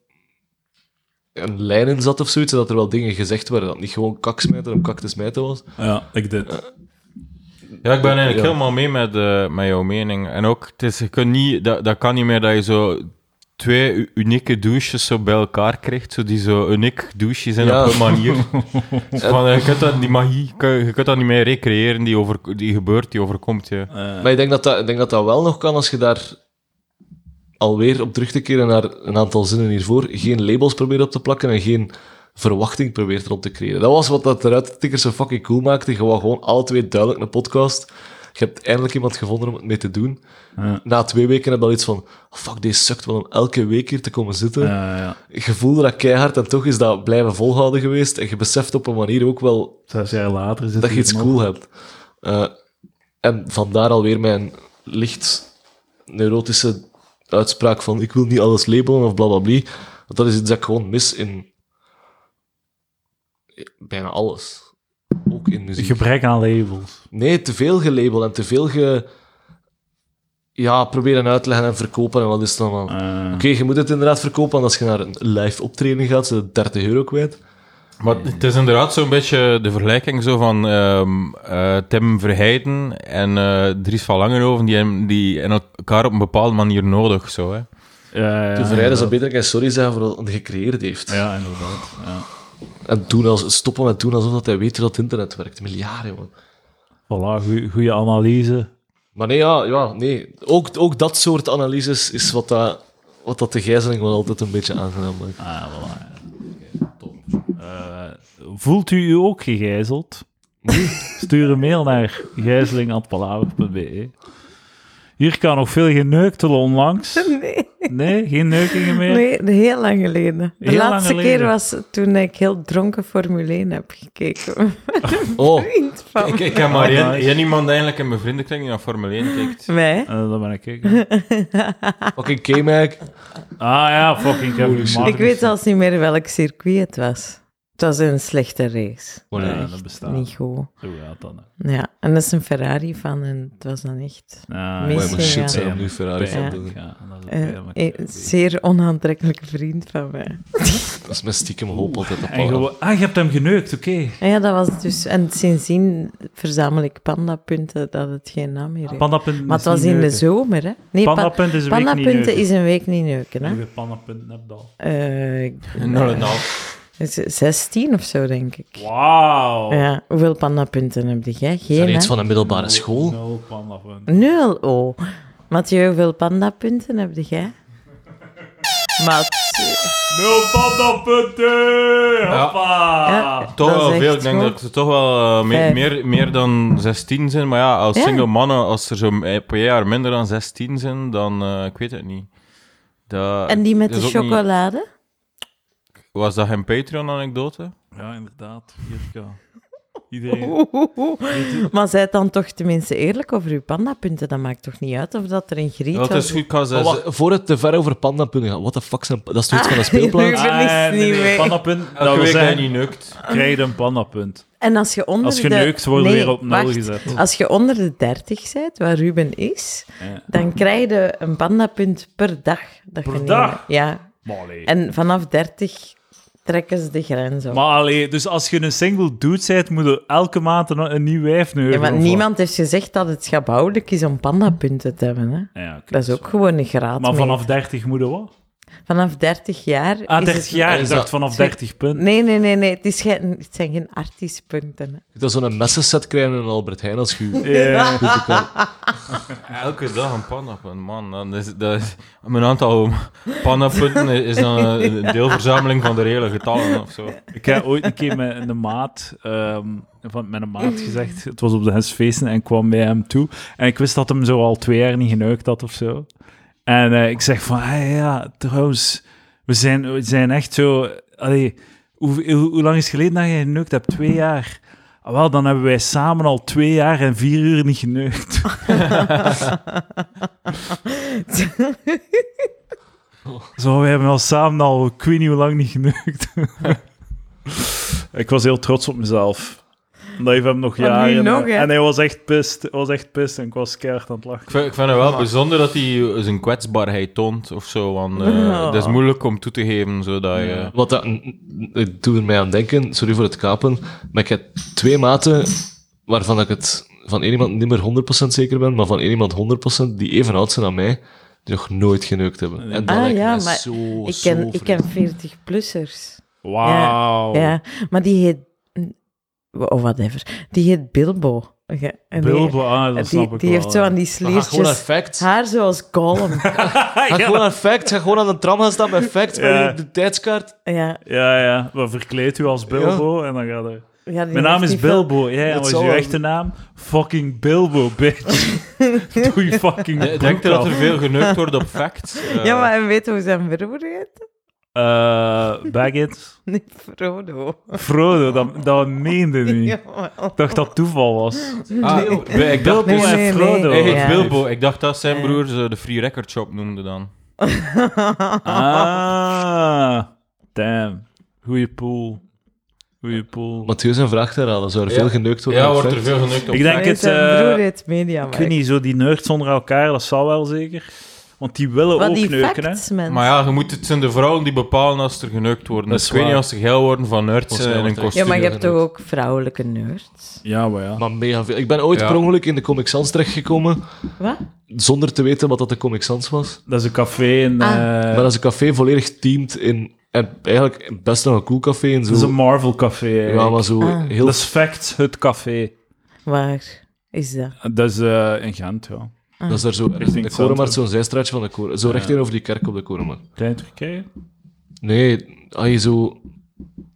een lijn in zat of zoiets. En dat er wel dingen gezegd werden. Dat het niet gewoon kak smijten om kak te smijten was. Ja, ik Eh, dit. Ja, ik ben eigenlijk Ja. helemaal mee met, eh, met jouw mening. En ook, het is, je kunt niet, dat, dat kan niet meer dat je zo twee u- unieke douches zo bij elkaar krijgt, zo die zo uniek douche zijn Ja. op een manier. Zo van, eh, je kunt dat, die magie, kun- je kunt dat niet meer recreëren, die, over, die gebeurt, die overkomt je. Maar ik denk dat dat, ik denk dat dat wel nog kan als je daar alweer op terug te keren naar een aantal zinnen hiervoor. Geen labels probeert op te plakken en geen verwachting probeert rond te creëren. Dat was wat dat eruit tikkers zo fucking cool maakte. Je wou gewoon alle twee duidelijk een podcast. Je hebt eindelijk iemand gevonden om het mee te doen. Ja. Na twee weken heb je al iets van, oh, fuck, deze sukt wel om elke week hier te komen zitten. Ja, ja. Je voelde dat keihard en toch is dat blijven volhouden geweest. En je beseft op een manier ook wel Zes jaar later zit dat je hier iets nog. cool hebt. Eh, en vandaar alweer mijn licht neurotische uitspraak van ik wil niet alles labelen of blablabla. Want dat is iets dat ik gewoon mis in bijna alles. Ook in muziek. Gebrek aan labels. Nee, te veel gelabeld en te veel ge... Ja, proberen uit te leggen en verkopen en wat is het dan allemaal. Eh, Oké, je moet het inderdaad verkopen, want als je naar een live optreden gaat, zijn het 30 euro kwijt. Ah, Maar het is inderdaad zo'n beetje de vergelijking zo van ehm, eh, Tim Verheijden en eh, Dries van Langenhoven, die, hem- die en elkaar op een bepaalde manier nodig. Zo, hè. ja, ja, De verrijder zou inderdaad. beter een keer sorry zeggen voor wat hij gecreëerd heeft. Ja, inderdaad. Ja. En toen als, stoppen met doen alsof dat hij weet hoe dat internet werkt. Miljarden, man. Voilà, goede analyse. Maar nee, ja, ja nee. Ook, ook dat soort analyses is wat, dat, wat dat de gijzeling wel altijd een beetje aangenaam maakt. Ah, voilà. ja. Eh, voelt u u ook gegijzeld? Stuur een mail naar gijzeling.palaver.be. Hier kan nog veel geneuktelen onlangs. Nee, Nee, geen neukingen meer? nee, heel lang geleden. De Heel lang laatste geleden. keer was toen ik heel dronken Formule 1 heb gekeken. Oh, Vriend van Ik, ik heb maar één, nice. één iemand eigenlijk in mijn vriendenkring die naar Formule 1 kijkt. mij. Eh, dat ben ik. ik. fucking K-Mac. Ah ja, fucking Kevin Holy shit. Magnussen. Ik weet zelfs niet meer welk circuit het was. Het was een slechte race. Maar nee, Ja, Echt dat bestaat. Niet goed. Hoe gaat dat nou? Ja, en dat is een Ferrari van en het was dan echt Ah, Mis- Mooi, maar shit, Ja. zijn we Ja. nu Ferrari van. pijnlijk, doen. ja, dat is eh, pijnlijk. een zeer onaantrekkelijke vriend van mij. Dat is mijn stiekem hoop altijd. dat En Paul- gewoon- ah, je hebt hem geneukt, oké. En ja, dat was het dus. En sindsdien verzamel ik pandapunten dat het geen naam meer heeft. Pandapunten Maar is het was niet in de neuken. zomer, hè? Nee, pa- Pandapunt is een week niet pandapunten neuken. is een week niet neuken, hè? Hoeveel pandapunten heb je al? Eh, ik- Nou, dat nou. het is 16 of zo, denk ik. Wauw. Ja, hoeveel pandapunten heb jij? Is dat Geen, iets hè? van een middelbare school? Nul pandapunten. Nul, oh. Mathieu, hoeveel pandapunten heb jij? Mathieu. Nul pandapunten! Ja. Hoppa! Ja. Ah, Toch Dat is wel echt veel. Ik denk goed. dat ze toch wel eh, me- Vijf. meer, meer dan 16 zijn. Maar ja, als Ja. single mannen, als er zo eh, per jaar minder dan 16 zijn, dan eh, ik weet het niet. Dat, En die met dat de is ook niet- chocolade? was dat geen Patreon-anekdote? Ja, inderdaad. Hier, ja. Iedereen. Oeh, oeh, oeh. Maar zijt dan toch tenminste eerlijk over uw pandapunten. Dat maakt toch niet uit of dat er een griet Dat was. is goed, ik kan Maar zeggen- wacht, voor het te ver over pandapunten gaat. What the fuck zijn... Dat is toch iets van een Ah, speelplaats? ben ik niet mee. Pandapunt, dat wil Elke week dat je zeggen, niet neukt. krijg je een pandapunt. En als je onder Als je de... neukt, wordt Nee, weer op nul wacht. gezet. Als je onder de 30 bent, waar Ruben is, Ja. dan krijg je een pandapunt per dag. Dat Per je niet- dag? Ja. Maar allee. En vanaf 30 trekken ze de grens op. Maar allee, dus als je een single dude bent, moet je elke maand een, een nieuw wijf neuken. ja, want of wat? niemand heeft gezegd dat het schabouwelijk is om pandapunten te hebben. Hè? Ja, oké. Dat is ook gewoon een graad. Maar mee. vanaf 30 moet je wat? Vanaf 30 jaar. Ah, is 30 het- jaar. is Ik dacht dat- vanaf 30 punten. Nee, nee, nee, nee. Het, is geen, het zijn geen artiespunten. hè. Dat zo'n messenset krijgen in Albert Heijn als je... Ja. Elke dag een pandapunt, man. Dat is, dat is, mijn aantal pandapunten is dan een deelverzameling van de reële getallen of zo. Ik heb ooit een keer met een maat, ehm, van, met een maat gezegd, het was op de hensfeesten en ik kwam bij hem toe. En ik wist dat hem zo al twee jaar niet geneukt had of zo. En eh, ik zeg van, hey, ja, trouwens, we zijn, we zijn echt zo... Allee, hoe, hoe, hoe lang is het geleden dat je geneukt hebt? Twee jaar. Ah, wel, dan hebben wij samen al twee jaar en vier uur niet geneukt. Zo, we hebben al samen al ik weet niet hoe lang niet geneukt. ik was heel trots op mezelf. Dat heeft hem nog Maar nu jaren. nog, hè? en hij was echt pist. Hij was echt pist en ik was keihard aan het lachen. Ik vind, ik vind het wel bijzonder dat hij zijn kwetsbaarheid toont of zo. Want eh, Ja. het is moeilijk om toe te geven zodat je. Wat dat, het doet er mij aan denken, sorry voor het kapen, maar ik heb twee maten waarvan ik het van één iemand niet meer 100% zeker ben, maar van één iemand 100% die even oud zijn dan mij, die nog nooit geneukt hebben. En dat Ah, lijkt ja, mij maar zo, Oh, ik zo ken, ik vreemd. ken 40-plussers. Wauw. Ja, maar die heet... Of whatever. Die heet Bilbo. Ja, en die- Bilbo, ah, dat snap Die, ik die wel, heeft zo ja. aan die Maar ga gewoon naar sliertjes facts. Ga haar zoals Gollum. gewoon naar facts. Ga gewoon aan de tram gaan staan met facts, Ja. met de tijdskaart. ja, Ja, ja. We verkleed u als Bilbo en dan gaat er... ja, die Mijn naam heeft is die film- Bilbo. Ja, en Dat wat is zal uw wel- echte naam? Fucking Bilbo, bitch. Doe je fucking Ik broek denk dat af. er veel geneukt wordt op facts. eh. Ja, maar en weet je hoe zijn broer heet? Eh, Baggett. Nee, Frodo. Frodo, dat, dat meende niet. Jawel. Ik dacht dat toeval was. Ah, ik Bilbo dacht dus. Nee, en nee, Frodo. Hij nee. heet Ja. Bilbo. Ik dacht dat zijn Ja. broer ze de Free Record Shop noemde dan. Ah, damn. Goeie pool. Goeie pool. Mathieu zijn vraag te herhalen. Zou er Ja. veel geneukt worden? Ja, met wordt er facts? veel geneukt op Ik denk Nee, het, zijn eh, broer heet Media. Ik weet niet, zo die nerds onder elkaar, dat zal wel zeker. Want die willen Wat ook die neuken, hè. facts, mensen. Maar ja, je moet, het zijn de vrouwen die bepalen als er geneukt worden. Dat Dus is ik weet niet waar. als ze geil worden van nerds Volgens en mij in een wordt er- kostuum. Ja, maar je hebt toch Tuurlijk. ook vrouwelijke nerds? Ja, maar ja. Maar mega veel. Ik ben ooit Ja. per ongeluk in de Comic Sans terechtgekomen, Wat? zonder te weten wat dat de Comic Sans was. Dat is een café en... Ah. eh, Maar dat is een café volledig teamed in... En eigenlijk best nog een cool café en zo. dat is een Marvel café. eigenlijk. ja, maar zo Ah. heel... Dat is Facts, het café. Waar is dat? Dat is eh, in Gent, ja. Dat is daar zo... In de het Korenmarkt, centrum. zo'n zijstraatje van de Koren. Zo recht over die kerk op de Korenmarkt. Klein Turkije? Nee, als je zo...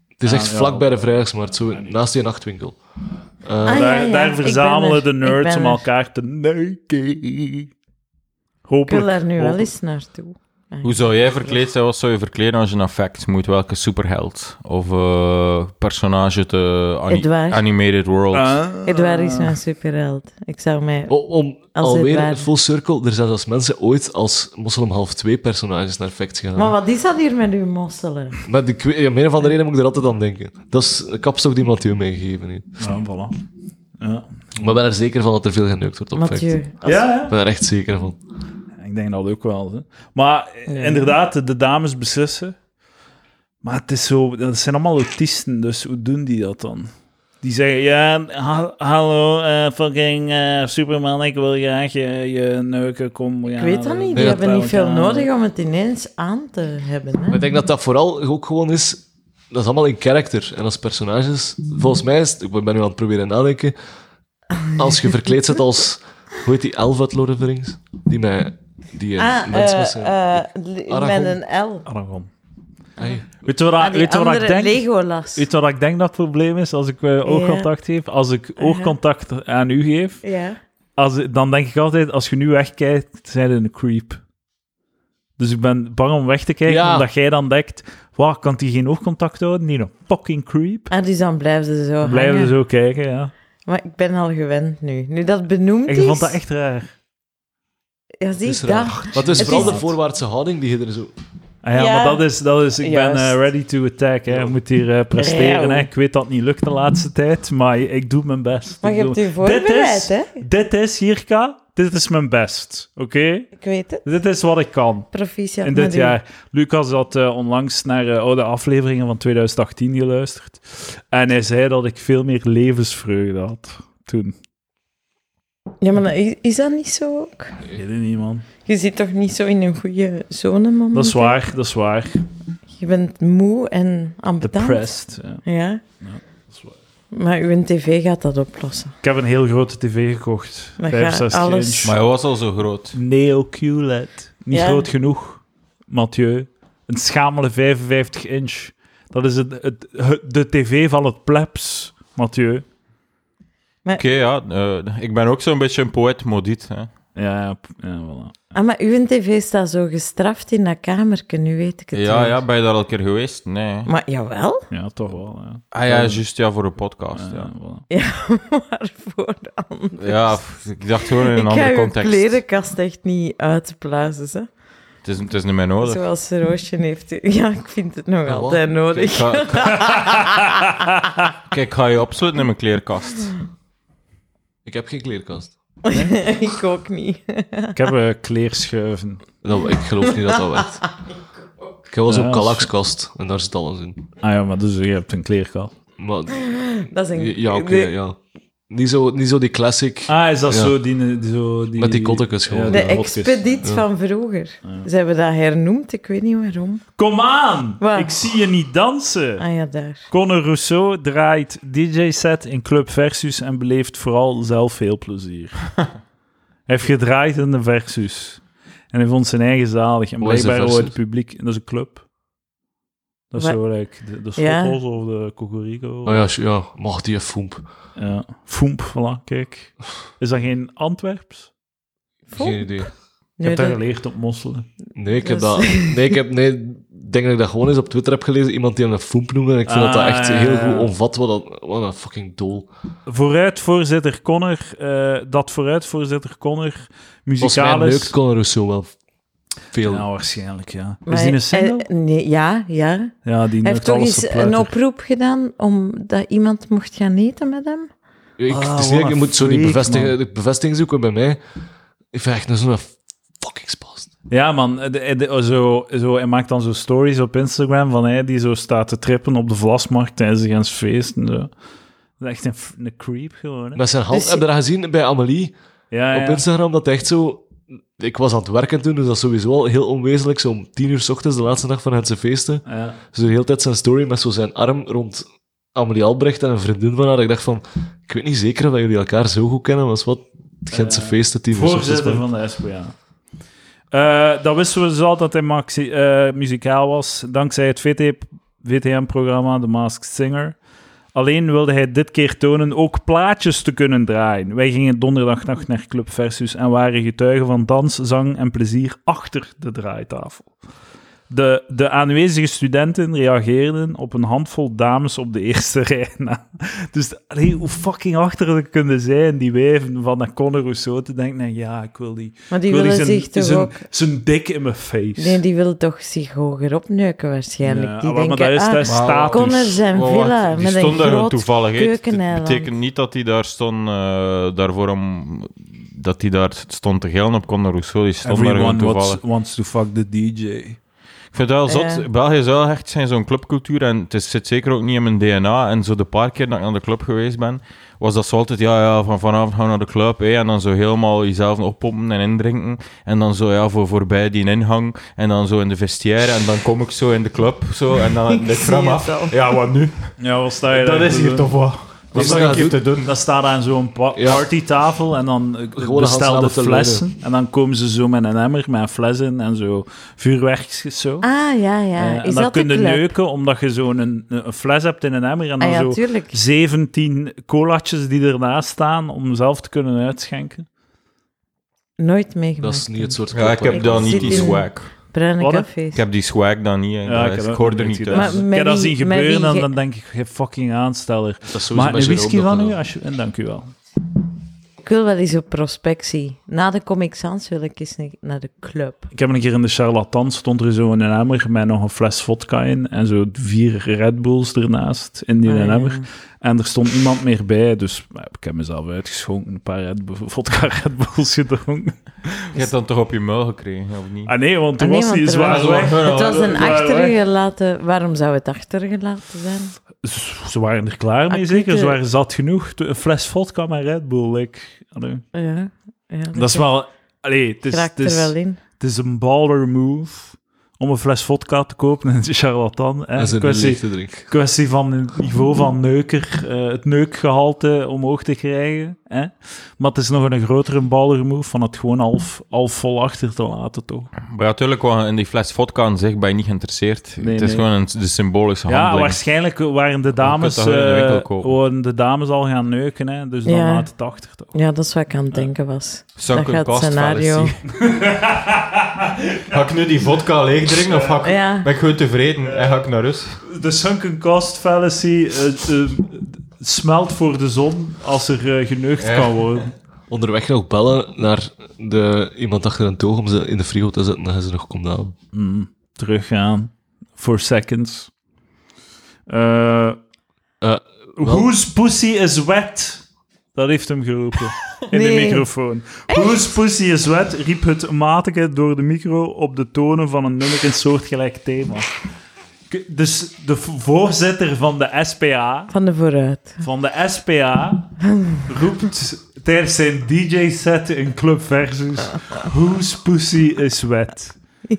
Het is Ah, echt ja. vlak bij de vrijdagsmarkt, zo naast die nachtwinkel. Ah, ja, daar, ja, daar ik ben verzamelen er, de ik nerds ben om er. elkaar te neuken. Ik wil Hopelijk. daar nu wel hopelijk. eens naartoe. Ah, Hoe zou jij verkleed zijn? Wat zou je verkleden als je naar Facts moet? Welke superheld? Of eh, personage te ani- Edouard. Animated World? Ah. Edouard is mijn superheld. Ik zou mij... O- Om Als het alweer waar- full circle, er zijn zelfs mensen ooit als Moslim half 2 personages naar Facts gegaan. Maar wat is dat hier met uw mosselen? Maar ik weet- om een of andere reden moet ik er altijd aan denken. Dat is een kapstok die Mathieu meegegeven heeft. Ja, voilà. Ja. Maar ik ben er zeker van dat er veel geneukt wordt op Facts. Mathieu. als- Ja, ja. Ik ben er echt zeker van. Ik denk dat ook wel. Hè. Maar eh, inderdaad, de- de dames beslissen. Maar het is zo, dat zijn allemaal autisten, dus hoe doen die dat dan? Die zeggen, ja, ha- hallo, eh, fucking eh, Superman, ik wil graag je, je neuken, kom. Ik weet dat niet. Die hebben niet veel nodig om het ineens aan te hebben. Maar Hè? ik denk dat dat vooral ook gewoon is... Dat is allemaal in karakter en als personages. Volgens mij is het... Ik ben nu aan het proberen nadenken. Als je verkleed zit als... Hoe heet die elf uit Lord of the Rings? Die mij... Die eh, Ah, mens eh, met zijn- eh, li- Aragorn. met een L. Aragorn. Ai. Weet je wat, Ah, die weet je wat ik andere denk? Legolas. Weet je wat ik denk dat het probleem is als ik eh, oogcontact geef? Als ik oogcontact aan u geef, Ja. als, dan denk ik altijd, als je nu wegkijkt, zijn we een creep. Dus ik ben bang om weg te kijken, Ja. omdat jij dan denkt Waar kan die geen oogcontact houden? Die een fucking creep. Ah, dus dan blijven ze zo Blijven hangen. zo kijken, ja. Maar ik ben al gewend nu. Nu dat benoemd En is... je vond dat echt raar. Ja, zie Het is ik raar. dat. Maar het is Het vooral is- de voorwaartse houding die je er zo... Ah ja, Ja. maar dat is, dat is ik ben eh, Juist. ready to attack. Hè. Ik moet hier eh, presteren. Rauw. Hè. Ik weet dat het niet lukt de laatste tijd, maar ik doe mijn best. Maar Ik je doe- hebt je dit is, voorbereid, hè? Dit is, Jirka, dit is mijn best. Oké? Ik weet het. Dit is wat ik kan. Proficiat in met dit u. jaar. Lucas had eh, onlangs naar eh, oude afleveringen van 2018 geluisterd. En hij zei dat ik veel meer levensvreugde had toen. Ja, maar dat- is, is dat niet zo ook? Ik weet het niet, man. Je zit toch niet zo in een goede zone, man? Dat is waar, dat is waar. Je bent moe en ambetant. Depressed. ja. Ja. Ja, dat is waar. Maar uw tv gaat dat oplossen. Ik heb een heel grote tv gekocht. Maar 5, ga 6 alles- inch. Maar hij was al zo groot. Neo E QLED. Niet Ja. groot genoeg, Mathieu. Een schamele 55 inch. Dat is het, het, het- de tv van het plebs, Mathieu. Oké, ja. eh, ik ben ook zo'n beetje een poëet modiet. Hè. Ja, p- ja, voilà. Ah, maar uw tv staat zo gestraft in dat kamerke, nu weet ik het Ja, weer. ja, ben je daar al een keer geweest? Nee. hè. Maar jawel, Ja, toch wel. Ja. Ah ja, juist, ja, voor een podcast. Ja, Ja, voilà. waarvoor dan? ja pff, ik dacht gewoon in een ik ga andere uw context. kledenkast echt niet uitblazen, hè. Het, is, het is niet meer nodig. Zoals Roosje heeft. Ja, ik vind het nog wat? altijd Kijk, nodig. ga, Kijk, ik ga je opsluiten in mijn kleerkast. Ik heb geen kleerkast. ik ook niet. Ik heb eh, kleerschuiven. Dat, ik geloof niet dat dat werkt. Ik heb wel Ja, zo'n dat is- kalakskast en daar zit alles in. Ah ja, maar dus je hebt een kleerkast. Maar, Dat is een... ja, oké, de, ja. Niet zo, niet zo die classic... Ah, is dat Ja. zo? Die, die, zo die, Met die kottekes gewoon. Ja, de die hokjes. expediet van vroeger. Ze hebben dat hernoemd, ik weet niet waarom. Kom aan! Wat? Ik zie je niet dansen! Ah ja, daar. Conor Rousseau draait DJ-set in Club Versus en beleeft vooral zelf veel plezier. hij heeft gedraaid in de Versus. En hij vond zijn eigen zalig. En Wat is de blijkbaar hoort het Versus? publiek... Dat is een club. Dat is Wat? zo, like, de, de Ja. Schottels of de Cocorico. Oh ja, sh- ja, mag die foemp. Ja. Foemp, voilà, kijk. Is dat geen Antwerps? Foemp? Geen idee. Ik Nee, heb dat dat- geleerd op mosselen. Nee, ik heb Dat Dus- dat... is- Nee, ik heb... Nee, ik denk dat ik dat gewoon eens op Twitter heb gelezen. Iemand die hem een foemp noemde. En ik vind dat dat Ah, echt ja, heel ja. goed omvat. Wat, dat, wat een fucking dool. Vooruit, voorzitter Connor. eh, dat vooruit, voorzitter Connor. Volgens mij Muzikaal neukt is... Conor Rousseau wel veel. Ja, waarschijnlijk, ja. Maar is die een hij- single? hij- nee, ja, ja. ja, die Hij neukt heeft toch alles eens verpletterd. een oproep gedaan omdat iemand mocht gaan eten met hem? Ik, Ah, het is wat niet, dat ik een moet zo die freak, bevestiging, man. de bevestiging zoeken bij mij. Ik vraag echt zo'n fucking spast. Ja, man. eh, de- de- zo, zo, hij maakt dan zo stories op Instagram van hij die zo staat te trippen op de vlasmarkt tijdens een feest en zo. Dat is echt een, f- een creep gewoon, hè. Met zijn hand, Dus- heb je dat gezien bij Amelie Ja, Ah, ja. op Instagram? Dat hij echt zo... Ik was aan het werken toen, dus dat is sowieso al heel onwezenlijk. Zo om tien uur 's ochtends, de laatste dag van het zijn feesten. ja. Zo de hele tijd zijn story met zo zijn arm rond Amelie Albrecht en een vriendin van haar. Ik dacht van, ik weet niet zeker of dat jullie elkaar zo goed kennen, maar is wat het Gentse Eh, feesten, tien uur 's ochtends. Voorzitter van de SPA. Eh, dat wisten we dus al dat hij maxi- eh, muzikaal was, dankzij het VT VTM-programma The Masked Singer. Alleen wilde hij dit keer tonen ook plaatjes te kunnen draaien. Wij gingen donderdagnacht naar Club Versus en waren getuigen van dans, zang en plezier achter de draaitafel. De, de aanwezige studenten reageerden op een handvol dames op de eerste rij. na. Dus allee, hoe fucking achterlijk kunnen zijn die wijven van dat Conor Rousseau te denken, nee, ja, ik wil die... Maar die ik wil willen zijn, zich toch zijn, ook... zijn dik in mijn face. Nee, die willen toch zich hoger opneuken waarschijnlijk. Ja, die maar- maar denken, dat is- ah, dat is Wauw. status. Connor zijn Wow, wacht, villa die met een stond daar gewoon groot toevallig. hè. Het- Het keukeneiland. betekent niet dat hij daar stond, eh, daarvoor om, dat hij daar stond te gelden op Conor Rousseau. Die stond daar gewoon Everyone toevallig. wants, wants to fuck the DJ. Ik vind het wel zot. Ja. België is wel echt zijn zo'n clubcultuur en het is, zit zeker ook niet in mijn DNA. En zo de paar keer dat ik naar de club geweest ben, was dat zo altijd, ja, ja van vanavond gaan we naar de club hé, en dan zo helemaal jezelf oppompen en indrinken. En dan zo, ja, voor, voorbij die ingang en dan zo in de vestiaire en dan kom ik zo in de club zo en dan in de zie tram het af. al. Ja, wat nu? Ja, wat sta je Dat daar is te hier doen? toch wat? Wat Eerst sta gaan ik hier doen. te doen? Dat staat aan zo'n pa- Ja. partytafel en dan eh, Gewoon bestelde gaan samen te flessen. En dan komen ze zo met een emmer, met een fles in en zo vuurwerkjes zo. Ah, ja, ja. Eh, Is en dan dat de kun je club? neuken, omdat je zo'n een, een fles hebt in een emmer en dan Ah ja, zo tuurlijk. 17 colaatjes die ernaast staan om zelf te kunnen uitschenken. Nooit meegemaakt. Dat is niet het soort Ja, ik club, hè. heb daar niet zit die in- swag. Bruine Wat, hè? cafés. Ik heb die swag dan niet. hè. Ja, ik Dat is- heb ik dat hoor ook er niet niet gedaan. uit. Maar Ik heb dat Met zien wie- met gebeuren wie en ge- dan denk ik, je fucking aansteller. Dat is sowieso Maar met een Jerome whisky dat van dan u, ook. alsje- en dank u wel. Ik wil wel eens op prospectie. Na de Comic Sans wil ik eens ne- naar de club. Ik heb een keer in de charlatan stond er zo een emmer met nog een fles vodka in en zo vier Red Bulls ernaast in die Ah, ja. emmer. En er stond niemand meer bij, dus maar ik heb mezelf uitgeschonken, een paar Red Bull, vodka Red Bulls gedronken. Je hebt dan toch op je muil gekregen, of niet? Ah nee, want Ah, toen nee, was want die er zwaar was- weg. Ja, Het was een waar, waar? achtergelaten... Waarom zou het achtergelaten zijn? Ze- Ze waren er klaar mee, Acute- zeker. Ze waren zat genoeg. Te- Een fles vodka met Red Bull, like, allee. Ja. ja Dat is wel... Allee, het is, raakt het is- er wel in. het is een baller move om een fles vodka te kopen in de charlatan. hè. Dat is een Kwestie- lichte drink. kwestie van het niveau van neuker, eh, het neukgehalte omhoog te krijgen. Hè? Maar het is nog een grotere baller move van het gewoon half, half vol achter te laten, toch? Maar ja, tuurlijk, wat je in die fles vodka aan zegt, ben je niet geïnteresseerd. Nee, het is nee. gewoon een, de symbolische Ja, handeling. waarschijnlijk waren de dames, kunt dat gewoon in de eh, winkel kopen. waren de dames al gaan neuken, hè? dus dan Ja. laat het achter, toch? Ja, dat is wat ik aan het denken was. Sunken dat gaat cost scenario. fallacy. ga ik nu die vodka leeg drinken of ga ik, Ja. ben ik gewoon tevreden en ga ik naar rust? De sunken cost fallacy eh, smelt voor de zon als er geneukt Ja. kan kan worden. Onderweg nog bellen naar de, iemand achter een toog om ze in de frigo te zetten, dan gaan ze nog komen halen. teruggaan. For seconds. Eh, Eh, Wel- Whose pussy is wet? Dat heeft hem geroepen. In de Nee. microfoon. Whose pussy is wet? riep het matige door de micro op de tonen van een nummer in soortgelijk thema. K- Dus de v- voorzitter van de SPA, Van de vooruit. van de SPA roept tijdens zijn DJ-set in Club Versus Whose pussy is wet? Sorry,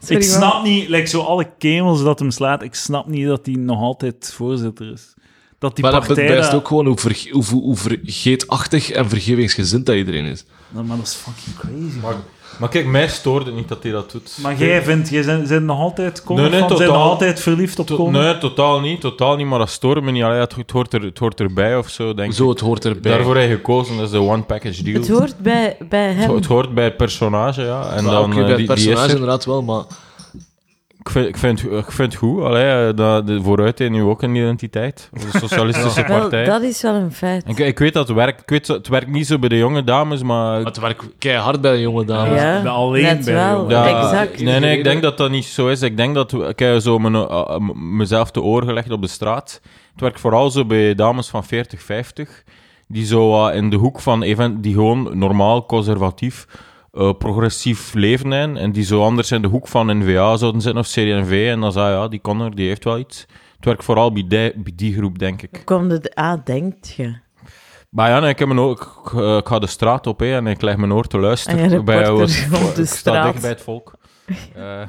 ik maar- snap niet, like zo alle kemels dat hem slaat, ik snap niet dat hij nog altijd voorzitter is. Dat die maar dat partij... bewijst dat- ook gewoon hoe, verge- hoe, hoe, hoe vergeetachtig en vergevingsgezind dat iedereen is. Ja, maar dat is fucking crazy. Maar, maar kijk, mij stoorde niet dat hij dat doet. Maar jij vindt, jij zijn, zijn nog altijd komen Nee, nee, van, zijn nog totaal. altijd verliefd op To- komen. nee, totaal niet, totaal niet, maar dat stoorde me niet. Allee, het, het hoort er, het hoort erbij of zo, denk ik. Zo, het hoort erbij. Daarvoor heb je gekozen, dat is de one-package deal. Het hoort bij, bij Het ho- hem. het hoort bij het personage, ja. En Maar dan, oké, eh, bij het die, die is personage er. inderdaad wel, maar Ik vind, ik vind, ik vind het goed. Allee, eh, dat, de, vooruit heeft nu ook een identiteit. Of de Socialistische Wel, Partij. Nou, dat is wel een feit. Ik, ik weet dat het werkt. Ik weet, dat het werkt niet zo bij de jonge dames, maar... het werkt keihard bij de jonge dame. Ja, bij- alleen net bij wel. jongen. dat- Exact. Nee, nee, ik denk dat dat niet zo is. Ik denk dat... Ik heb zo mijn, eh, eh, mezelf te oor gelegd op de straat. Het werkt vooral zo bij dames van 40, 50. Die zo wat in de hoek van... Even, die gewoon normaal, conservatief, eh, progressief leven zijn. En die zo anders in de hoek van NVA zouden zitten of CNV. En dan zei ja, die Connor, die heeft wel iets. Het werkt vooral bij die, bij die groep, denk ik. Komt het aan, denkt Ah, je. Maar ja, nee, ik, heb mijn oor, ik, eh, ik ga de straat op hè, en ik leg mijn oor te luisteren. En je bij, reporter wat- op de ik sta straat. dicht bij het volk. Eh,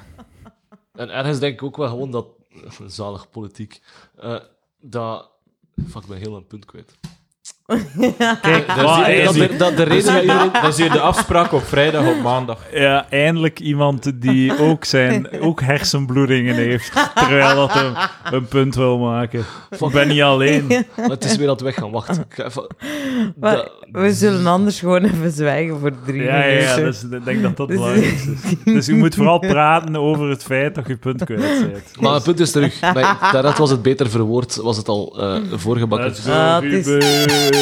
En ergens denk ik ook wel gewoon dat... Zalig politiek. eh, dat... Fuck, ik ben heel een punt kwijt. Kijk, is wat die- is Ah, dat, die- de, dat de dat, is reden... hier, dat is hier de afspraak op vrijdag, op maandag. Ja, eindelijk iemand die ook, zijn, ook hersenbloedingen heeft, terwijl dat hem een punt wil maken. Ik ben niet alleen. Maar het is weer aan het weggaan, wacht. Ik ga even- Maar dat- we zullen anders gewoon even zwijgen voor drie Ja, ja, ja minuten. dus ik denk dat dat belangrijk is. Dus je moet vooral praten over het feit dat je punt kwijt bent. Maar mijn punt is terug. Mijn, daaruit was het beter verwoord, was het al eh voorgebakken. Let's go, Ah, het is- Ruben.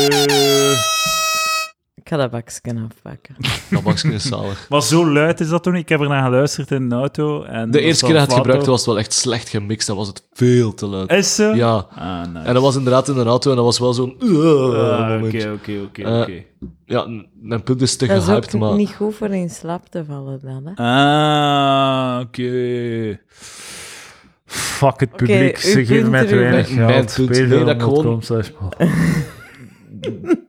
Ik ga dat bakje afpakken. Dat bakje is zalig. Maar zo luid is dat toen. Ik heb ernaar geluisterd in de auto. En De eerste keer dat het gebruikt gebruikt was het wel echt slecht gemixt en was het veel te luid. Is ze? Ja, Ah, nice. en dat was inderdaad in een auto en dat was wel zo'n... eh, Ah, moment. Oké, oké, oké, Eh, oké. Ja, n- mijn punt is te Dat is gehyped, ook maar... niet goed voor in slaap te vallen dan, hè. Ah, oké. Fuck het publiek, uw ze geven punt mij te erin. weinig Mijn- mijn geld. punt, nee, dat Patreon.com gewoon- slash pod.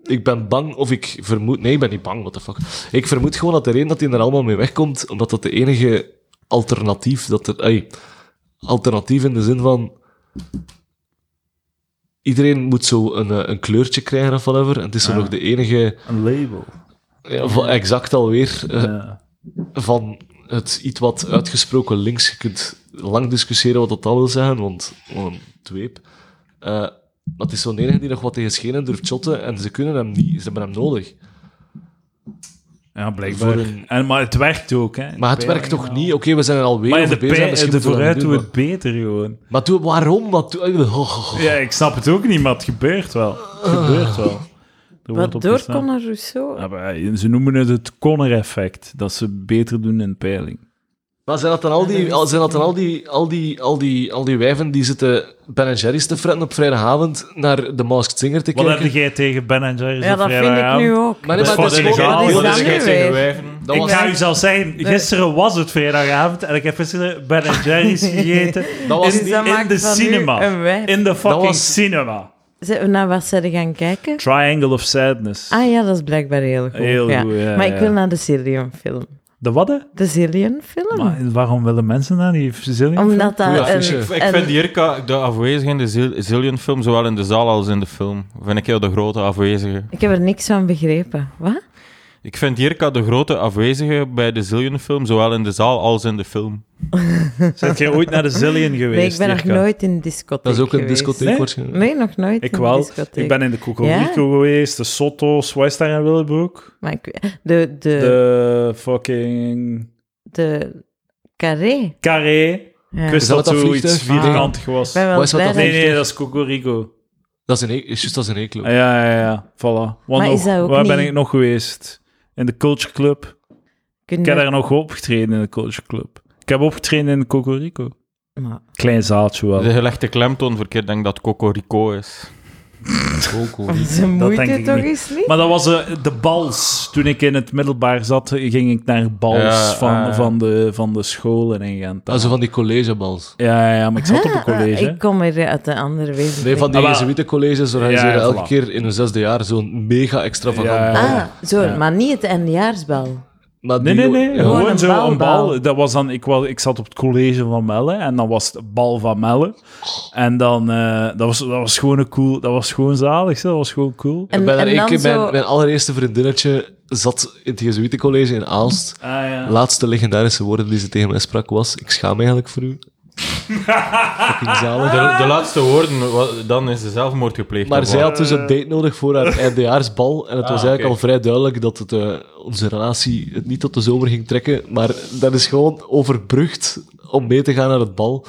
Ik ben bang, of ik vermoed... Nee, ik ben niet bang, what the fuck. Ik vermoed gewoon dat de reden dat hij er allemaal mee wegkomt, omdat dat de enige alternatief dat er... Ey, alternatief in de zin van... Iedereen moet zo een, eh, een kleurtje krijgen of whatever. En het is zo nog de enige... Een label. ja, van- exact alweer eh, Ja. van het iets wat uitgesproken links. Je kunt lang discussiëren wat dat al wil zeggen, want wat een dweep. Eh, maar het is zo'n enige die nog wat tegen schenen durft shotten en ze kunnen hem niet. Ze hebben hem nodig. Ja, blijkbaar. Voor een- En, maar het werkt ook, hè. Maar het De werkt peiling toch en niet? al. Oké, we zijn er alweer Maar in over de, bezig. pei- misschien de moeten we dat vooruit doen, doet maar- het beter gewoon. Maar doe, waarom? Wat doe- oh, oh, oh. Ja, ik snap het ook niet, maar het gebeurt wel. Het Ah. gebeurt wel. Er wordt Wat op door gestaan. Conor Rousseau? Ja, maar eh, ze noemen het het Conner-effect, dat ze beter doen in peiling. Maar zijn dat dan al die, al- zijn dat dan al die, al die, al die, al die wijven die zitten Ben Jerry's te fretten op vrijdagavond naar de Masked Singer te Wat kijken? heb jij tegen Ben Jerry's Ja, op dat vind ik nu vrijdagavond? ook. Maar nee, Dus Dat maar is dat is fucking gewoon... gaaf. dat is- Wat is dat is- dat weer? dat Ik was- ga u zelf zeggen, gisteren was het vrijdagavond en ik heb gisteren Ben Jerry's gegeten Dat was in, Dus dat in maakt de van u cinema. een wijf. In de fucking was- cinema. Zijn we naar wat zijn we gaan kijken? Triangle of Sadness. Ah ja, dat is blijkbaar heel goed. Heel goed, ja, Maar ik ja. wil naar de Zillion-film. De wat? hè? De Zillion-film? Maar waarom willen mensen naar die Sicilian Omdat dat Goeie een... affiche. Ik een- vind Jirka de afwezige in de Zil- Zillion-film, zowel in de zaal als in de film, vind ik heel de grote afwezige. ik heb er niks van begrepen. Wat? Ik vind Jirka de grote afwezige bij de Zillion-film, zowel in de zaal als in de film. Zijn jij ooit naar de Zillion geweest? Nee, ik ben nog Jirka? nooit in discotheek Dat is ook een geweest. discotheek Nee? waarschijnlijk. Nee, nog nooit Ik in wel. discotheek. Ik ben in de Cocorico geweest, de Soto's, wat is daar in Willebroek? Maar ik- de, de, De fucking de carré. Carré. Ja. Ah. Ik Ik wist dat dat dat zoiets vliegtuig? vierkantig was. ben wel Wat is dat blij dan? Nee, ik- nee, dat is Cocorico. Dat is een, e- is juist als een eeklo. Ah, Ja, ja, ja. Voilà. Wat Maar nog? is dat ook Waar ben niet- ik nog geweest? In de Culture Club. kun Ik je- heb daar nog opgetreden in de Culture Club. Ik heb opgetreden in de Cocorico. Maar- Klein zaaltje wel. De gelegde klemtoon verkeerd, denk dat Cocorico is. Ze moeite denk ik toch niet. eens niet? Maar dat was eh, de bals. Toen ik in het middelbaar zat, ging ik naar bals Ja, van, ah. van, de, van de scholen in Gent. Dat is Ah, zo van die collegebals. Ja, ja, ja, maar ik zat op een Ah, college. hè. Ik kom er uit een andere wereld. Nee, van die Ah, maar- jezuïetencolleges Ja, organiseren ja, elke voilà. keer in hun zesde jaar zo'n mega extravagant Ja, ja, bal. ja. Ah, zo, Ja. maar niet het eindjaarsbal. Maar Nee, die- nee, nee. ja. Gewoon Gewoon een zo bal, een bal. bal. Dat was dan, ik, was, ik zat op het college van Melle en dan was het bal van Melle. En dan, eh, dat, was, dat was gewoon een cool, dat was gewoon zalig, zo. dat was gewoon cool. Ik ben En, daar en één dan keer, zo... mijn, mijn allereerste vriendinnetje zat in het jezuïetencollege in Aalst. Ah, ja. laatste legendarische woorden die ze tegen mij sprak was: Ik schaam me eigenlijk voor u. Fucking zalig. De, de laatste woorden, wa- dan is de zelfmoord gepleegd. Maar of zij wat? had dus Eh. een date nodig voor haar eindejaarsbal. En Ah, het was eigenlijk oké. al vrij duidelijk dat het, eh, onze relatie het niet tot de zomer ging trekken. Maar dat is gewoon overbrugd om mee te gaan naar het bal.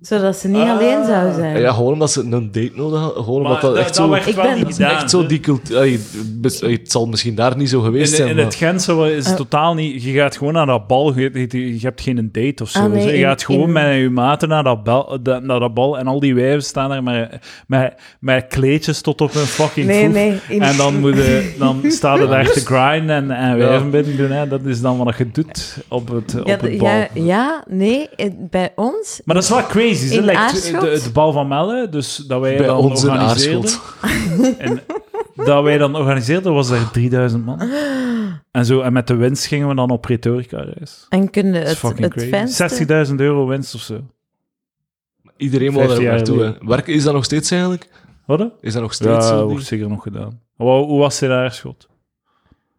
Zodat ze niet alleen zou zijn. En ja, gewoon omdat ze een date nodig had. Gewoon Maar omdat dat, echt zo... werd Ik wel ben- niet dat is gedaan, Echt zo hè. die cultuur... Allee, bes- allee, Het zal misschien daar niet zo geweest In, zijn, in maar- het Gentse is het Eh. totaal niet... Je gaat gewoon naar dat bal, je, je- je hebt geen date of zo. Ah, nee, je in- gaat gewoon in- met je maten naar dat, bal, da- naar dat bal en al die wijven staan daar met, met, met kleedjes tot op hun fucking Nee, voet. nee. in- En dan, moet eh, je, dan staat er daar te grinden en, en wijven binnen doen. Hè. Dat is dan wat je doet op het, Ja, op het d- bal. ja, ja, nee, het- bij ons... Maar dat is wel crazy. Ze In lijkt Aarschot? de, het bal van Melle, dus dat wij bij dan ons in organiseerden. Aarschot. En dat wij dan organiseerden, was er 3000 man. En, zo, en met de winst gingen we dan op retorica reis. En kunnen Dat is het, fucking het venster... crazy. 60.000 euro winst of zo. Iedereen wil 15 daar jaar naartoe. hè. Werken is dat nog steeds eigenlijk? Wat? hè? Is dat nog Ja, steeds dat zo? wordt zeker nog gedaan. Hoe, hoe was het in Aarschot?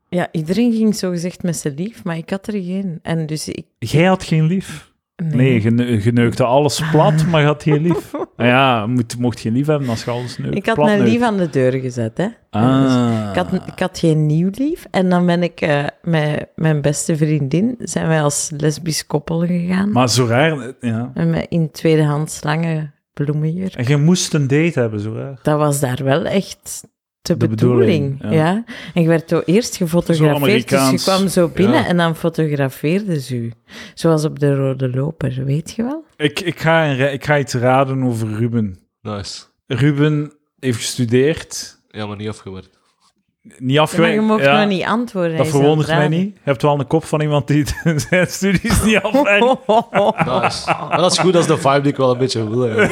Ja, iedereen ging zogezegd met zijn lief, maar ik had er geen. En dus ik... Jij had geen lief. Nee. Nee, je ne- je neukte alles plat, maar je had geen lief. Nou ja, je moet, mocht geen lief hebben als je alles neukt. ik had plat mijn neukt. lief aan de deur gezet, hè. dus Ah. Ik had, ik had geen nieuw lief. En dan ben ik eh, met mijn beste vriendin, zijn wij als lesbisch koppel gegaan. Maar zo raar, ja. En met in tweedehands lange bloemenjurk. En je moest een date hebben, zo raar. Dat was daar wel echt de, De bedoeling. bedoeling, ja. En je werd zo eerst gefotografeerd, dus je Amerikaans. kwam zo binnen Ja. en dan fotografeerden ze u. Zoals op de Rode Loper, weet je wel? Ik, ik, ga een, ra- ik ga iets raden over Ruben. Nice. Ruben heeft gestudeerd, Ja, maar niet afgewerkt. niet Ja, maar afgewerkt. je mocht ja, nog niet antwoorden. hij Dat is aan verwondert het mij raden. niet. Je hebt wel een kop van iemand die zijn studies niet afwerkt. Nice. Maar dat is goed, dat is de vibe die ik wel een beetje wil. hè.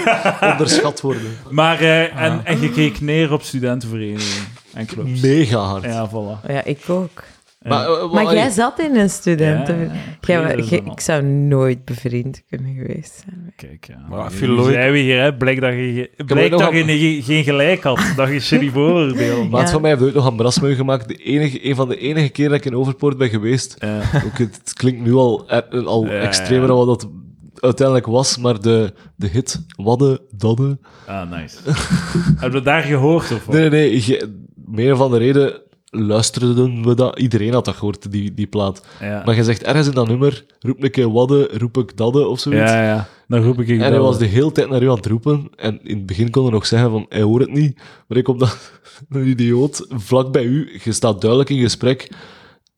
Onderschat worden. Maar, eh, en, en je keek neer op studentenverenigingen en clubs. Mega hard. Ja, voilà. Ja, ik ook. Maar, eh, Maar wat- jij zat in een student. Ja, ja, Jij wa- dat is jij- dan al. ik zou nooit bevriend kunnen geweest zijn. Kijk, ja. Maar Nu Philo- zijn we hier, hè. Blijkt dat je, ge- ook blijkt nog dat je een- ne- geen gelijk had. Dat je shitty vooroordeel. Maat Ja. van mij heeft ooit nog een brasmeu gemaakt. De enige, een van de enige keer dat ik in Overpoort ben geweest. Ook, het het klinkt nu al, eh, al Ja, extremer ja. dan wat dat uiteindelijk was. Maar de, de hit Wadden, Dadden... Ah, nice. Hebben we daar gehoord of wat? Nee, nee, nee. je- meer van de reden luisterden we dat. Iedereen had dat gehoord, die, die plaat. Ja. Maar je zegt ergens in dat nummer, roep een keer wadde, roep ik dadde of zoiets. ja, ja. Dan roep ik je En hij dat was wel. de hele tijd naar u aan het roepen. En in het begin kon hij nog zeggen van, hij hoort het niet. Maar ik kom dan, een idioot, vlak bij u. Je staat duidelijk in gesprek.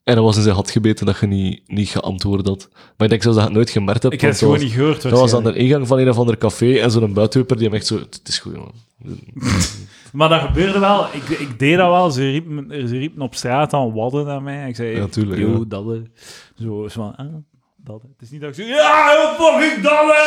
En hij was in zijn had gebeten dat je niet, niet geantwoord had. Maar ik denk zelfs dat je het nooit gemerkt hebt. Ik heb het want gewoon dat niet was- gehoord. Dat was aan de waarschijnlijk. ingang van een of ander café. En zo'n buitenwipper die hem echt zo... Het is goed, man. Maar dat gebeurde wel. Ik, ik deed dat wel. Ze riepen, ze riepen op straat aan wadden naar mij. Ik zei, Ja, tuurlijk, yo, ja. dalle. Zo, zo van, ah, dalle. Het is niet dat ik zo, ja, yo, fucking dalle!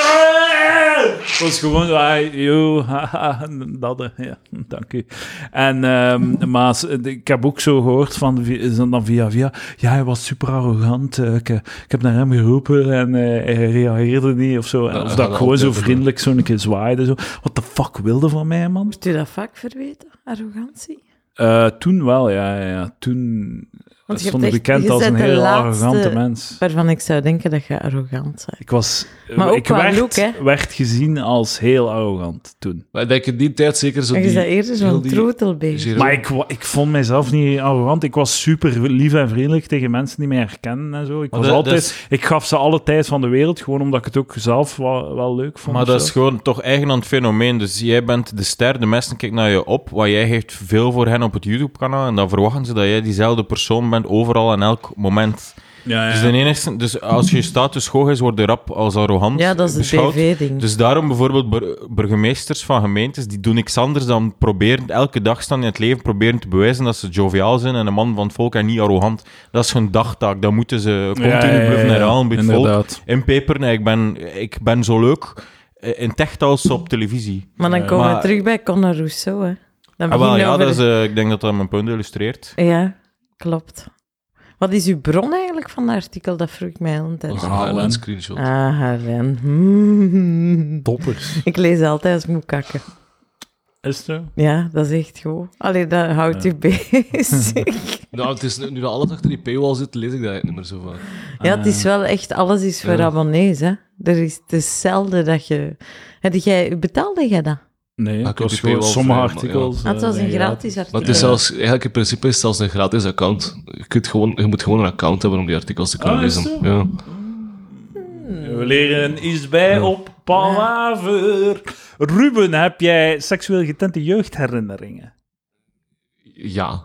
Het was gewoon zo, ah, yo, haha, dalle. Ja, dank u. En, ehm, maar ze- ik heb ook zo gehoord van, vi- is dat dan via via, ja, hij was super arrogant. Eh, Ik, eh, ik heb naar hem geroepen en eh, hij reageerde niet of zo. En Ja, Of dat dat ik gaat gewoon zo altijd, hè. vriendelijk zo'n keer zwaaide. Zo. Wat de fuck wilde van mij, man? Moet u dat vaak verweten, arrogantie? Eh, toen wel, ja. ja, ja. Toen Want je stond ik hebt echt- bekend je als een bent de heel laatste- arrogante mens. Waarvan ik zou denken dat je arrogant bent. Ik was... Maar ook ik qua werd, look, hè? werd gezien als heel arrogant toen. Maar ik denk in die tijd zeker zo En je die... bent eerder heel zo'n die- troetelbeest. Jerome- Maar ik, wa- ik vond mijzelf niet arrogant. Ik was super lief en vriendelijk tegen mensen die mij herkennen en zo. Ik, Maar was dat- altijd, dat is- ik gaf ze alle tijd van de wereld, gewoon omdat ik het ook zelf wel, wel leuk vond. Maar of dat zo. is gewoon toch eigen aan het fenomeen. Dus jij bent de ster, de mensen kijken naar je op. Wat jij geeft veel voor hen op het YouTube-kanaal. En dan verwachten ze dat jij diezelfde persoon bent overal en elk moment. Ja, ja. Dus, de enigste, dus als je status hoog is, word je rap als arrogant Ja, dat is het beschouwd. BV-ding. Dus daarom bijvoorbeeld bur- burgemeesters van gemeentes, die doen niks anders dan proberen, elke dag staan in het leven, proberen te bewijzen dat ze joviaal zijn en een man van het volk en niet arrogant. Dat is hun dagtaak. Dat moeten ze continu Ja, ja, ja, bluffen ja. herhalen bij het volk. Inderdaad. Inpeperen, ik ben, ik ben zo leuk. eh, In tech als op televisie. Maar dan komen maar- we terug bij Conor Rousseau, hè. Dan Ah, wel, begin je ja, over- dat is, eh, ik denk dat dat mijn punt illustreert. Ja, klopt. Wat is uw bron eigenlijk van dat artikel? Dat vroeg ik mij al een tijd. Oh, af. Haaland. Haaland screenshot. Ah, Helen. Hmm. Toppers. Ik lees altijd als ik moet kakken. Is het zo? Ja, dat is echt goed. Allee, dat houdt u bezig. Nou, het is, nu dat alles achter die paywall zit, lees ik dat eigenlijk niet meer zo vaak. Ja, het is wel echt... Alles is voor Ja. abonnees, hè. Er is, het is zelden dat je... Heb jij, betaalde jij dat? Nee, Ah, ik ik heb was die gewoon paywall sommige vrij, maar ja. artikels... Ah, het was eh, een zijn gratis artikel. Maar het is zelfs, eigenlijk in principe is het zelfs een gratis account. Je, kunt gewoon, je moet gewoon een account hebben om die artikels te kunnen Ah, is het lezen. zo? Ja. We leren iets bij op Palaver. Ruben, heb jij seksueel getente jeugdherinneringen? ja.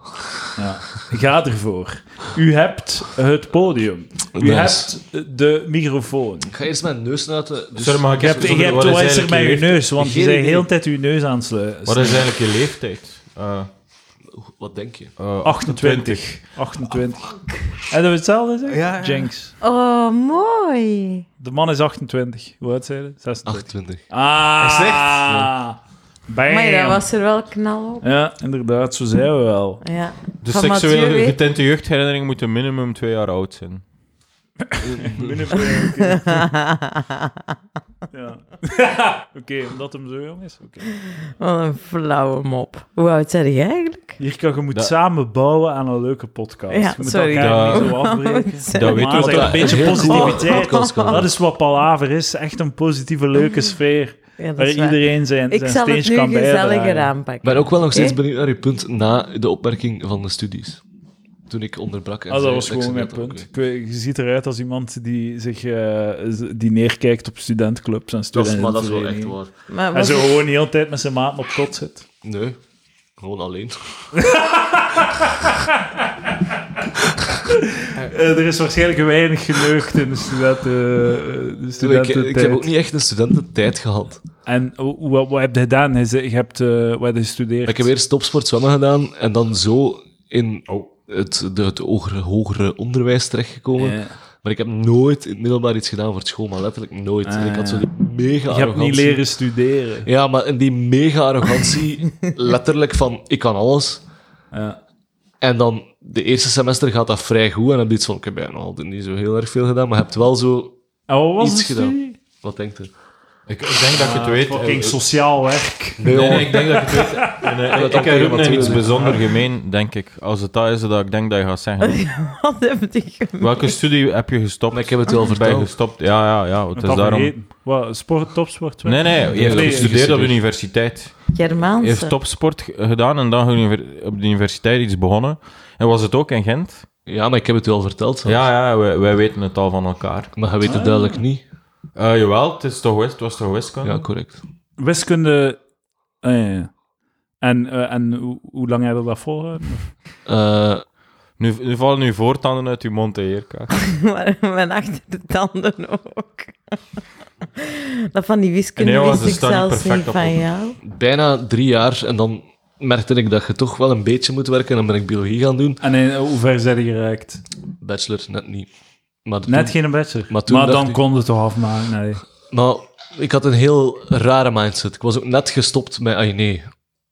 Ja. Ga ervoor. U hebt het podium. U Nice. hebt de microfoon. Ik ga eerst mijn neus snuiten. Dus... Sorry, maar ik Je heb hebt, je hebt wat is wat is er eigenlijk met je je leeftijd? neus, want je Geen zei idee. heel de tijd je neus aan het slu- Wat is eigenlijk je leeftijd? Eh, Wat denk je? eh, 28. 28. En dat we hetzelfde zeggen? Ja, ja. Jinx. Oh, mooi. De man is 28. Hoe oud zei je? 26. 28. Ah! Is het echt? Bam. Maar dat was er wel knal op. Ja, inderdaad, zo zijn we wel. Ja. De Van seksueel Mathieu, hè? getinte jeugdherinnering moet minimum twee jaar oud zijn. Ja. Oké, omdat hem zo jong is. Oké. Wat een flauwe mop. Hoe oud zijn jij eigenlijk? Hier kan je moet Dat- samen bouwen aan een leuke podcast. Ja, je moet sorry. elkaar Dat- niet zo afbreken. Dat Maar weet je wat zeg, dat- een beetje heel coole positiviteit. podcast kan dat is wat Palaver is. Echt een positieve, leuke sfeer. Ja, dat Waar is waar. iedereen zijn, Ik zijn zal het steentje nu kan gezelliger bijdragen. Ah, aanpakken. Ik ben ook wel nog steeds Eh? benieuwd naar je punt na de opmerking van de studies. Toen ik onderbrak. En Ah, dat zei was ik gewoon mijn zei dat punt. ook. Ik weet- je ziet eruit als iemand die zich eh, z- die neerkijkt op studentclubs en Dat is, maar dat is wel echt studentenverenigingen. waar. Maar En was zo het- gewoon de hele tijd met zijn maten op kot zit. Nee, gewoon alleen. Eh, er is waarschijnlijk weinig geneugd in de studenten. eh, de Ik, studententijd. ik heb ook niet echt een studententijd gehad. En hoe- wat, wat heb je gedaan? Je zei- je hebt eh, wat heb je gestudeerd. Ik heb eerst topsport zwemmen gedaan en dan zo in het, de, het hogere, hogere onderwijs terechtgekomen. Oh. Ja. Maar ik heb nooit in het middelbaar iets gedaan voor het school, maar letterlijk nooit. Ah, En ik had zo die Je mega hebt arrogantie. niet leren studeren. Ja, maar in die mega arrogantie, letterlijk van ik kan alles. Ja. En dan de eerste semester gaat dat vrij goed en heb je iets van ik heb bijna altijd niet zo heel erg veel gedaan, maar je hebt wel zo En wat was iets het gedaan. studie? Wat denkt u? Ik, ik denk dat je het weet. Ah, Fucking eh, sociaal werk. Nee, Nee, hoor. nee, ik denk dat ik het weet. En, eh, ik altijd heb ook nog natuurlijk. iets bijzonder gemeen, denk ik. Als het dat is dat ik denk dat je gaat zeggen. Wat heb je gemaakt? Welke studie heb je gestopt? Maar ik heb het wel bij verteld. gestopt. Ja, ja, ja. Het is Dat daarom... vergeten. Wat, sport, topsport? wat? Nee, nee. Je hebt Nee, gestudeerd op de gestudeerd. universiteit. Je Germaanse. heeft topsport g- gedaan en dan univer- op de universiteit iets begonnen. En was het ook in Gent? Ja, maar ik heb het wel verteld. zelfs. Ja, ja, wij, wij weten het al van elkaar. Maar je weet Ah. het duidelijk niet. Eh, jawel, het, is toch, wis- het was toch Ah. wiskunde? Ja, correct. Wiskunde. ah, ja, ja. En, eh, en hoe, hoe lang hebben we dat volgehouden? Eh, Nu, nu vallen uw voortanden uit uw mond, hè, Jirka. maar mijn achter de tanden ook. dat van die wiskunde Nee, jongens, wist ik dat staat niet zelfs perfect niet op van elkaar. jou. bijna drie jaar en dan merkte ik dat je toch wel een beetje moet werken. En dan ben ik biologie gaan doen. En in, hoe ver zijn die geraakt? Bachelor, net niet. Maar, toen- Net geen bachelor. Maar Maar, toen dacht dan ik- kon het toch afmaken? Nee. maar ik had een heel rare mindset. Ik was ook net gestopt met... Ay, nee,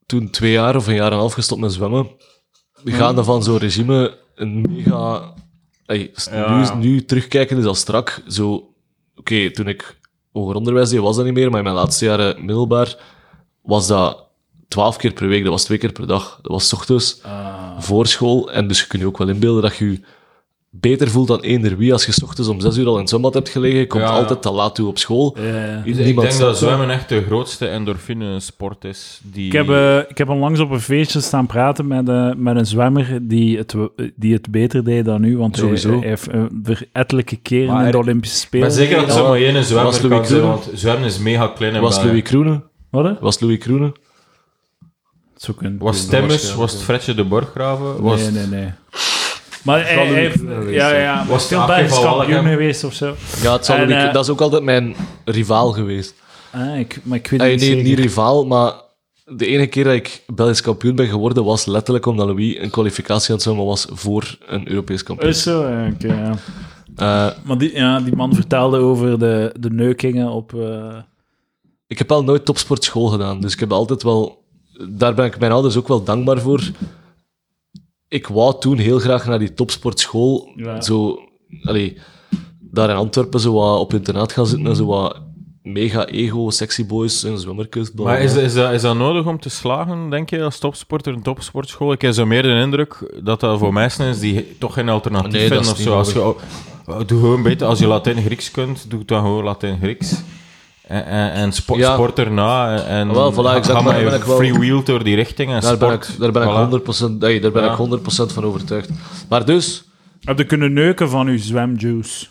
toen twee jaar of een jaar en een half gestopt met zwemmen. Hmm. Gaande van zo'n regime, een mega... Ay, s- Ja. nu, nu terugkijken is al strak. Zo, oké, toen ik hoger onderwijs deed, was dat niet meer. Maar in mijn laatste jaren middelbaar was dat twaalf keer per week. Dat was twee keer per dag. Dat was 's ochtends, Ah. voor school. En dus je kunt je ook wel inbeelden dat je je beter voelt dan eender wie. Als je 's ochtends om zes uur al in het zwembad hebt gelegen, je komt Ja, ja. altijd te laat toe op school. Eh, Iedereen Ik denk snapt dat zwemmen echt de grootste endorfine-sport is. Die... ik, heb, eh, ik heb onlangs op een feestje staan praten met, eh, met een zwemmer die het, w- die het beter deed dan u. Want hij- Sowieso. Hij, heeft eh, er ettelijke keren Maar in de er- Olympische Ik Spelen. ben zeker dat gedaan. ze maar één Was zwemmer Louis kan zijn, Kroenen? want zwemmen is mega klein en Was Louis Kroenen? Wat? hè? Was Louis Kroenen? Zo kunnen. Was Timmers, was het Fredje de Borggraven? Was Nee, nee, nee. Maar hij, zal hij Louis heeft Kroenen geweest ja, zijn. ja, Was was veel het Aafje Belgisch van kampioen Wallegem? geweest of zo. Ja, het zal En, Louis- eh, dat is ook altijd mijn rivaal geweest. Ah, ik, maar ik weet Ay, niet nee, zeker. niet rivaal, maar de enige keer dat ik Belgisch kampioen ben geworden, was letterlijk omdat Louis een kwalificatie aan het zwemmen was voor een Europees kampioen. Oh, Is zo, ja, oké, ja. Eh, Maar die, ja, die man vertelde over de, de neukingen op... eh, ik heb wel nooit topsportschool gedaan, dus ik heb altijd wel... Daar ben ik mijn ouders ook wel dankbaar voor. Ik wou toen heel graag naar die topsportschool. Ja. Zo, allee, daar in Antwerpen zo wat op internaat gaan zitten en zo wat mega ego, sexy boys en zwemmerkust. bla, Maar bla, is, bla. dat- is, dat, is dat nodig om te slagen, denk je, als topsporter in topsportschool? Ik heb zo meer de indruk dat dat voor mensen is die toch geen alternatief Nee, dat vinden is of niet zo. Als je, oh, doe gewoon beter, als je Latijn-Grieks kunt, doe dan gewoon Latijn-Grieks. En, en, en spo- Ja. Ah, sport erna. En Wel, voilà, exact, ga daar maar ben je ik wel- freewheeled door die richting en Daar ben sport. ik, daar ben ik voilà. 100%, nee, daar ben Ja. ik 100% van overtuigd. Maar dus, Heb je kunnen neuken van uw zwemjuice?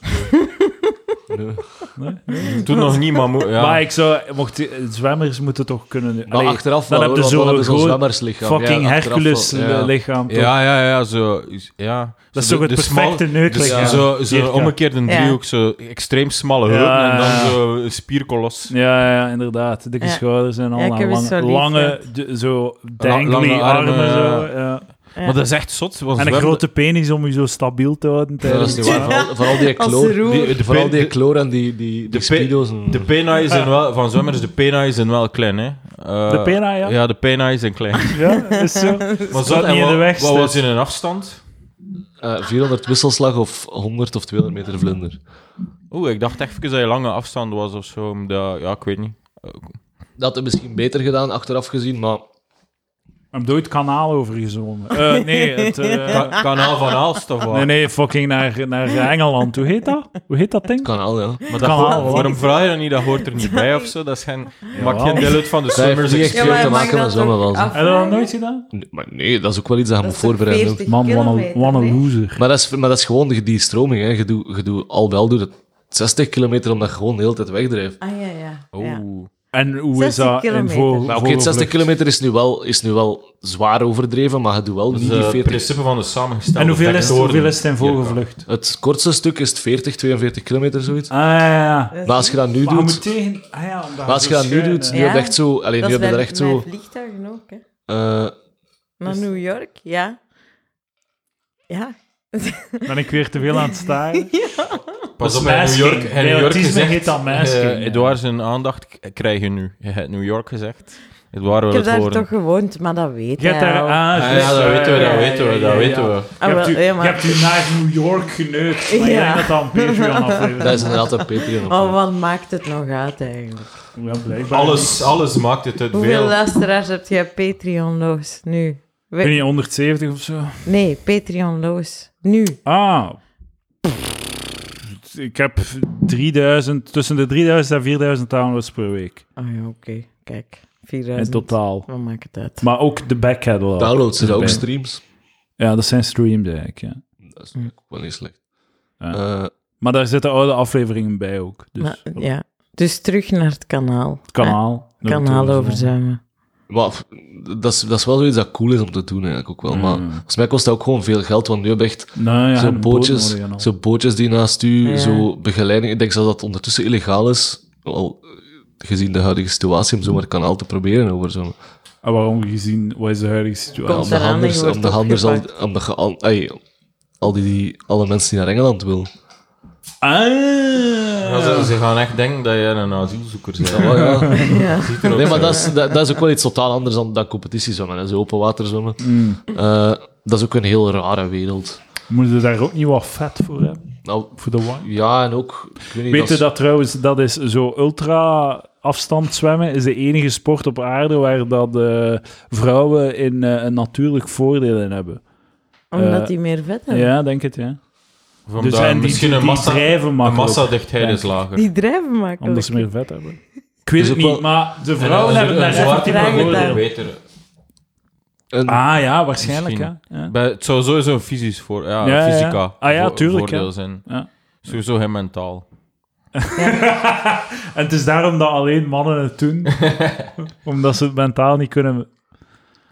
Toen nog niet, maar... moe- Ja. Maar ik zou... Mocht, die- zwemmers moeten toch kunnen... maar Allee, achteraf dan heb wel, hoor, je want zo'n dan hebben zo'n groot zwemmerslichaam. fucking Ja, achteraf wel, Hercules eh, ja. lichaam. toch? Ja, ja, ja, zo... Ja. Dat is Zo toch de- het de smal- perfecte neuklichaam. Dus zo, zo Circa. omgekeerd een Ja. driehoek, zo extreem smalle Ja, heupen en dan ja. zo een spierkolos. Ja, ja, inderdaad. Dikke Ja. schouders en al. Ja, ik heb en eens lange, zo lief, lange d- zo dangly lange armen. armen, zo, ja. ja. Ja. Maar dat is echt zot. want En een zwemmen- grote penis om je zo stabiel te houden. Ja, dat is Tijdens... niet waar. Vooral, vooral die Als kloor, roer. die, De vooral pin- die de- kloor en die, die, die pin- speedo's. en- De penai zijn wel, van zwemmers, de penai zijn wel klein, hè? Eh, De penai, ja. Ja, de penai zijn klein. Ja, is zo. Maar dat niet in de weg wat zit. was in een afstand? eh, 400 wisselslag of 100 of 200 meter vlinder. Oeh, ik dacht even dat je lange afstand was of zo. omdat- ja, ik weet niet. Dat had het misschien beter gedaan, achteraf gezien, maar Heb je ooit kanaal overgezonden? Eh nee, het, eh, Ka- kanaal van Aalst of wat? nee, nee, fucking naar, naar Engeland. Hoe heet dat? Hoe heet dat ding? kanaal, ja. Maar dat Kanaal, hoort- wat? waarom vraag je dat niet? Dat hoort er niet bij of zo. Dat is geen, maakt geen deel uit van de heeft swimmers. niet echt experience. veel te maar mag maken met dat zwemmen ook wel. af- Heb je dat nooit gedaan? Nee, Maar nee, dat is ook wel iets dat je Dat moet is toch voorbereiden. 40 Man, wat een, kilometer, wat hè? een loser. Maar dat is, maar dat is gewoon die, die stroming. Hè. Je doet, je doet, al wel doet het 60 kilometer omdat je gewoon de hele tijd wegdrijft. Ah ja, ja. Oh. ja. Oeh. En hoe is 60 dat in kilometer. voor, Maar oké, voor- het 60 kilometer is nu, wel, is nu wel zwaar overdreven, maar je doet wel Dat is niet die eh, het 40. principe van de samengestelde En hoeveel is, het- vectoren. hoeveel is het in volgevlucht? Het kortste stuk is het 40, 42 kilometer, zoiets. Ah, ja, ja. Dat is Maar als je dat nu Maar je moet doet, tegen... Ah, ja, omdat maar als je zo dat nu schuin, doet, hè. nu Ja. heb je echt zo... Allee, nu Dat heb is je er bij echt zo... mijn vliegtuigen ook, hè. eh, Dus- Naar New York, ja. Ja. Ben ik weer te veel aan het staren? Pas Dat op, is in New masking. York, in New York Neotisme gezegd, heet dat masking, eh, ja. Edouard, zijn aandacht k- krijg je nu. Je hebt New York gezegd. Het waren wel Ik heb het daar woorden. toch gewoond, maar dat weet Je hebt hij daar... al. ah, Ah, juist, ja, dat eh, weten we, ja, dat ja, weten ja, we, dat ja, weten ja. we. Nou. Ah, je, wel, hebt u, ja, maar- je hebt u naar New York geneukt, maar Ja. jij hebt dat dan Patreon-aflevering. Dat is inderdaad een Patreon. Oh, wat maakt het nog uit eigenlijk? Ja, blijkbaar. Alles, alles maakt het uit Hoeveel eh, veel. luisteraars heb jij Patreon-loos nu? Ik We- weet niet, 170 of zo? Nee, Patreon-loos. Nu. Ah. Pff, Ik heb 3000, tussen de 3000 en 4000 downloads per week. Ah ja, oké. Kijk, In 4000. totaal. Wat maakt het uit? Maar ook de back catalog. Downloads zijn ook erbij. streams. Ja, dat zijn streams eigenlijk. Ja. Dat is ook wel niet slecht. Ja. Eh, Maar daar zitten oude afleveringen bij ook. Dus Maar, op ja. Dus terug naar het kanaal. het kanaal. Eh, kanaal overzuimen. maar f- dat, is, dat is wel zoiets dat cool is om te doen eigenlijk ook wel. Maar Mm. volgens mij kost dat ook gewoon veel geld, want nu heb je echt Nou ja, zo een boot bootjes, nodig en al. zo bootjes die naast u, Ja. zo begeleiding. Ik denk zelfs dat het ondertussen illegaal is, al eh, gezien de huidige situatie, om zomaar kanaal te proberen over zo'n... En Ah, waarom gezien, wat is de huidige situatie? Komt Om de eraan en je handels, wordt om de handels al, opgepakt. om de, ge- al, ey, al die, die, alle mensen die naar Engeland willen. Ja, ze, Ah. ze gaan echt denken dat jij een asielzoeker bent. Ja, ja. Ja. Ziet er ook Nee, maar zo uit. dat is, dat, dat is ook wel iets totaal anders dan, dan competitiezwemmen, hè. zo open water zwemmen. Mm. Eh, dat is ook een heel rare wereld. Moeten daar ook niet wat vet voor hebben? Nou, Voor de wine? ja, en ook... Ik weet niet, Weet je is- dat trouwens, dat is zo ultra afstand zwemmen is de enige sport op aarde waar dat eh, vrouwen in eh, een natuurlijk voordeel in hebben. Omdat Eh, die meer vet Ja, hebben. denk het, ja. Of omdat dus en die, misschien die, een massa, drijven een makkelijk, massadichtheid is lager. Die drijven maken. omdat ze meer vet hebben. Ik weet Dus het ook niet, wel- maar de En vrouwen een- hebben daar een zwarte effectief een vrouw voordeel. beter. een- Ah ja, waarschijnlijk, ja. ja. Bij- Het zou sowieso een fysisch voor, ja, Ja, ja. fysica Ah ja, vo- tuurlijk, voordeel ja. zijn. Ja. Sowieso geen mentaal. En het is daarom dat alleen mannen het doen. omdat ze het mentaal niet kunnen...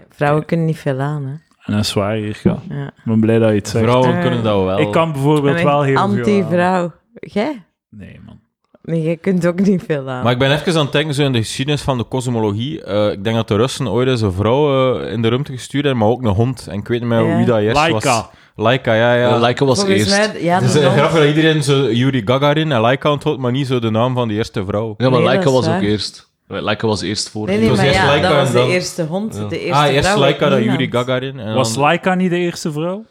Vrouwen kunnen niet veel aan, hè. En dat is waar, hier, ja. Ja. Ik ben blij dat je het zegt. Vrouwen Eh, kunnen dat wel. Ik kan Ik bijvoorbeeld ben wel echt heel veel aan. anti-vrouw. Jij? Nee, man. Nee, jij kunt ook niet veel aan. Maar ik ben even aan het denken zo in de geschiedenis van de kosmologie. Eh, ik denk dat de Russen ooit eens een vrouw eh, in de ruimte gestuurd hebben, maar ook een hond. En ik weet niet meer Ja. wie dat is. Laika. Was. Laika, ja, ja. Ja, Eh, Laika was Volgens eerst. mij... Ja, Het is de eh, non- grappig dat iedereen zo Yuri Gagarin en Laika onthoudt, maar niet zo de naam van die eerste vrouw. Ja, maar Nee, Laika dat is was ook waar. eerst. Laika was eerst voor. Nee, Het nee, was maar eerst ja, Laika dat was en de dan- eerste hond. De eerste ah, eerst vrouw Laika, uit dan Nederland. Yuri Gagarin. En Was dan- Laika niet de eerste vrouw?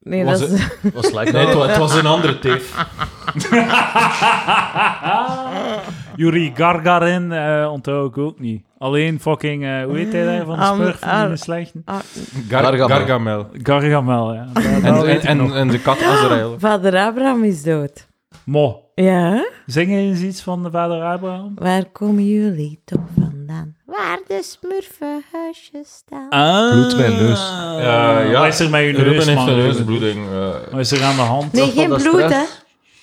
Nee, Was dat is... Was Laika Nee, het, wa- het was een andere teef. Yuri Gargarin eh onthoud ik ook niet. Alleen fucking, eh, hoe heet hij daar van de Am- smurf van Ar- de slechte? Ah, Gar- Gargamel. Gargamel. Gargamel, ja. Dat- dat En, en, weet ik en, nog. en de kat Azrael. vader Abraham is dood. Mo, Ja, hè? zing eens iets van de vader Abraham? Waar komen jullie toch vandaan? Waar de smurfenhuisjes staan. Ah. Bloed mijn neus. Eh, ja. Wat is er met je neus, Ruben heeft man? een Ruben? neusbloeding. eh. Wat is er aan de hand? nee, van geen dat bloed, hè. stress.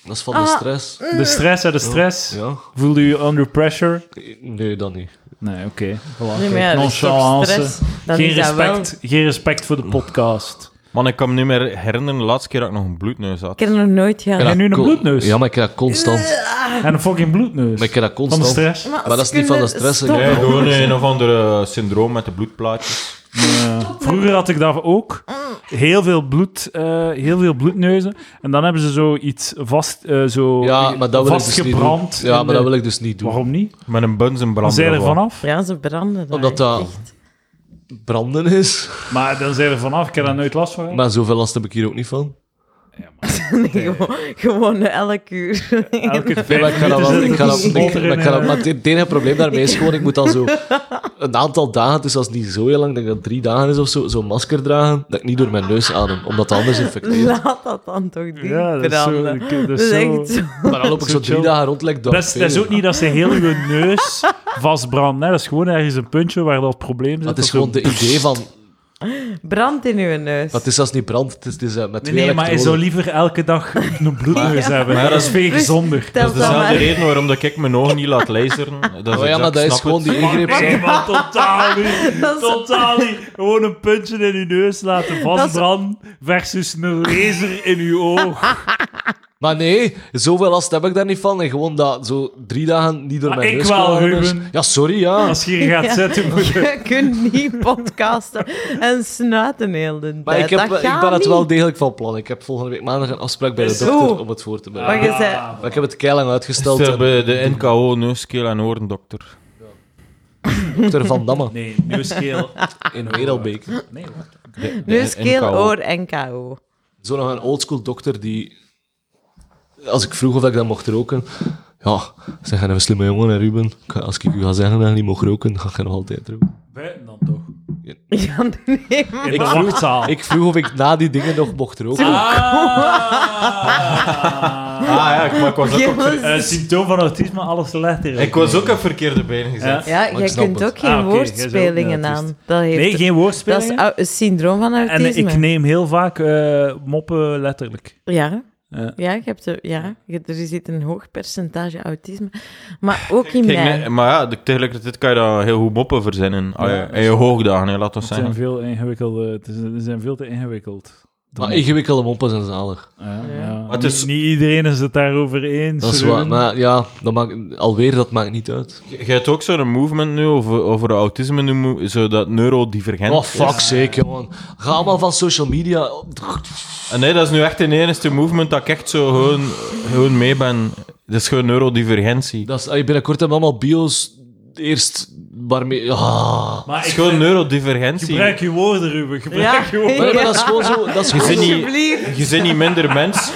Dat is van de Ah. stress. De stress, hè, de stress. Ja? Voelde je under pressure? Nee, dat niet. Nee, oké. Nee, maar ja, dat is toch stress? Dan Geen is dat wel- respect, geen respect voor de podcast. Man, ik kan me niet meer herinneren de laatste keer dat ik nog een bloedneus had. Ik heb nog nooit Ik Ja, gehad. heb nu dat een co- bloedneus. Ja, maar ik heb dat constant. En een fucking bloedneus. Maar ik heb dat Van de constant. stress. Maar dat is niet van de stress. Ik Nee, heb dat- gewoon een of ander syndroom met de bloedplaatjes. Ja. Vroeger had ik dat ook. Heel veel, bloed, eh, heel veel bloedneuzen. En dan hebben ze zoiets vast, eh, zo Ja, maar dat wil ik dus niet doen. vastgebrand. Ja, in maar dat de- wil ik dus niet doen. Waarom niet? Met een bunzenbrand. Dan zijn of er wat. vanaf. Ja, ze branden daar Omdat dat- echt. Branden is. Maar dan zijn er vanaf. Ik heb daar nooit last van. gehad. Maar zoveel last heb ik hier ook niet van. Nee, gewoon, gewoon elk uur. Elke Nee, maar vijf ik ga dat wel. minuten Ik ga dat, zit ik, er een maar ik ga smotter dat, maar in, het het enige probleem daarmee is gewoon, ik moet dan zo een aantal dagen, dus als niet zo heel lang, ik denk dat drie dagen is of zo, zo'n masker dragen, dat ik niet door mijn neus adem, omdat het anders infecteert. Laat dat dan toch niet eh, Ja, dat is zo... branden. ik- Dat Dat is, is zo- echt zo. Maar dan loop ik zo drie Chill. dagen rond, like Dat is- dat is ook niet dat ze heel je neus vastbranden. Hè. Dat is gewoon ergens een puntje waar dat probleem zit. Dat is of zo. gewoon de idee van... Brand in uw neus. Dat is zelfs niet brand, het is, het is, eh, met Nee, twee nee, maar je zou elektroden. liever elke dag een bloedneus hebben. Maar ja, dat is veel Dus- gezonder. Dat is Telt dat dezelfde maar. reden waarom dat ik mijn ogen niet laat laseren. Dat is Oh ja, exact- maar dat snap is gewoon het. die ingreep. Nee, zelf. man, totaal niet. Dat is- Totaal niet. Gewoon een puntje in je neus laten vastbranden versus een laser in je oog. Maar nee, zoveel last heb ik daar niet van. En gewoon dat zo drie dagen niet door Maar mijn ik neus wel, komen. Ruben. Ja, sorry, ja. Als je hier gaat Ja. zitten, moet je... Je kunt niet podcasten en snuiten heel de tijd. Maar ik, heb, Dat ik gaat ben het niet. wel degelijk van plan. Ik heb volgende week maandag een afspraak bij de Zo. dokter om het voor te Maar bereiden. je Ah, zei... Maar ik heb het keilang uitgesteld. Stel en- bij de NKO, neuskeel en oorendokter. Dr. Van Damme Nee, neusgeel. in Wereldbeek. Nee, wacht. Neus, keel, oor en KO. Zo nog een oldschool dokter die... Als ik vroeg of ik dat mocht roken... Ja, zeg, jij bent een slimme jongen, hè, Ruben. Ik ga- Als ik u ga zeggen dat je niet mocht roken, ga je nog altijd roken. Buiten dan toch. Ja, nee, maar- In de wachtzaal. Ah. Ik vroeg of ik na die dingen nog mocht roken. Ah. Ah ja, ik, maar ik was ook op ver- Eh, symptoom van autisme, alles te letten. ik was ook op verkeerde been gezet. Ja. Ja, jij snap kunt het. ook geen Ah, oké, jij bent ook woordspelingen een aan. autist. Dat, heeft, Nee, geen dat is woordspelingen. au- een syndroom van En eh, autisme. ik neem heel vaak eh, moppen letterlijk. Ja, Ja. ja, je hebt, de- ja je- er zit een hoog percentage autisme. Maar ook in Ik denk mij. net- maar ja, de- tegelijkertijd kan je daar heel goed moppen verzinnen. Ah, Ja, ja, dat en is je waar. hoogdagen, hè, laat ons Het zijn zeggen. veel ingewikkelde... Het is, het zijn veel te ingewikkeld. Maar ingewikkelde moppen zijn zalig. Ja, Ja. ja. Maar het is- Niet- Niet iedereen is het daarover eens. Dat is Ruben. waar. Maar ja, dat maakt, alweer, dat maakt niet uit. Je je hebt ook zo'n movement nu over, over autisme, nu, mo- zo dat neurodivergent. Oh, fuck zeker, jongen. Ga allemaal van social media... En nee, dat is nu echt de enige movement dat ik echt zo gewoon, gewoon mee ben. Dat is gewoon neurodivergentie. Dat is, ah, binnenkort hebben we allemaal bio's eerst waarmee... Ah. Maar Dat is ik gewoon vind- neurodivergentie. Gebruik je woorden, Ruben. Gebruik Ja. je woorden. Maar, maar dat is gewoon zo... Dat is Je gewoon zit zo- niet- Alsjeblieft. Je bent niet minder mens.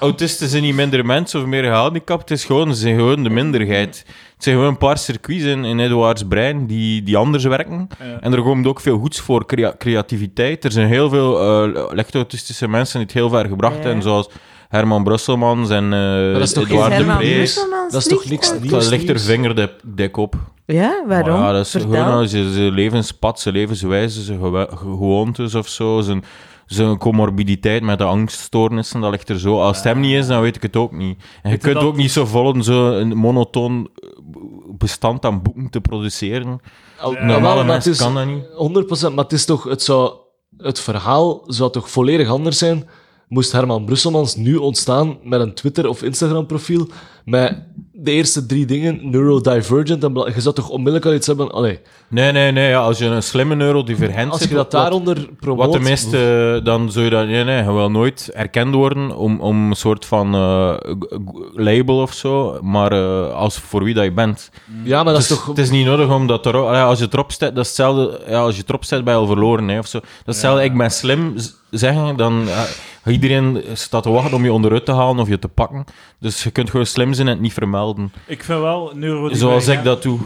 Autisten zijn niet minder mens of meer gehandicapt. Het is gewoon, ze zijn gewoon de minderheid. Het zijn gewoon een paar circuits in, in Edouards brein die, die anders werken. Ja. En er komt ook veel goeds voor crea- creativiteit. Er zijn heel veel eh licht-autistische mensen die het heel ver gebracht Ja. hebben. Zoals Herman Brusselmans en eh dat is toch Is Edouard geen de Herman Vrees. Brusselmans Dat is toch lief? niks Het nieuws? ligt er nieuws? vingerdik op. Ja, Maar waarom? Ja, dat is Vertel. gewoon zijn, zijn levenspad, zijn levenswijze, zijn gewe- ge- gewoontes of zo. Zijn, zijn comorbiditeit met de angststoornissen, dat ligt er zo. Als het hem niet is, dan weet ik het ook niet. En je Weet je kunt dat- ook niet zo volgen zo een monotoon bestand aan boeken te produceren. Al- Normale wel, maar het mensen is- kan dat niet. 100%, maar het is toch, het, zou, het verhaal zou toch volledig anders zijn moest Herman Brusselmans nu ontstaan met een Twitter- of Instagram-profiel met de eerste drie dingen, neurodivergent, en bla- je zou toch onmiddellijk al iets hebben... Allee, Nee, nee, nee. Ja, als je een slimme neurodivergent als zit, je dat wat- daaronder promoot... Wat de meeste, eh, dan zul je dat nee, nee, je wil nooit erkend worden om, om een soort van eh, g- g- label of zo, maar eh, als voor wie dat je bent. Ja, maar dat is Dus toch... Het is niet nodig om dat erop... ja, Als je het erop zet, dat is hetzelfde... Ja, als je het erop zet, ben je al verloren, hè, of zo. Dat is hetzelfde, ik ben slim z- zeggen, dan... ja, iedereen staat te wachten om je onderuit te halen of je te pakken. Dus je kunt gewoon slim zijn en het niet vermelden. Ik vind wel neurodivergent... Zoals ik dat doe.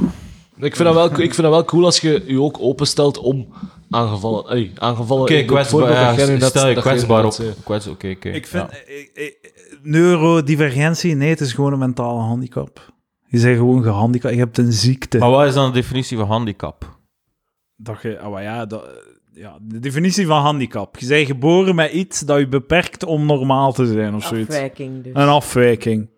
Ik vind, dat wel, ik vind dat wel cool als je je ook openstelt om aangevallen... Allee, aangevallen... Oké, in het kwetsbaar. voorbeeld dat jij ja, nu net- stel je dat jij kwetsbaar op. net zei. Kwets, oké, oké. Ik vind... ja. ik- ik- neurodivergentie, nee, het is gewoon een mentale handicap. Je bent gewoon gehandicapt. Je hebt een ziekte. Maar wat is dan de definitie van handicap? Dat je, ah, maar ja, dat, ja, de definitie van handicap. Je bent geboren met iets dat je beperkt om normaal te zijn of zoiets. Afwijking dus. Een afwijking.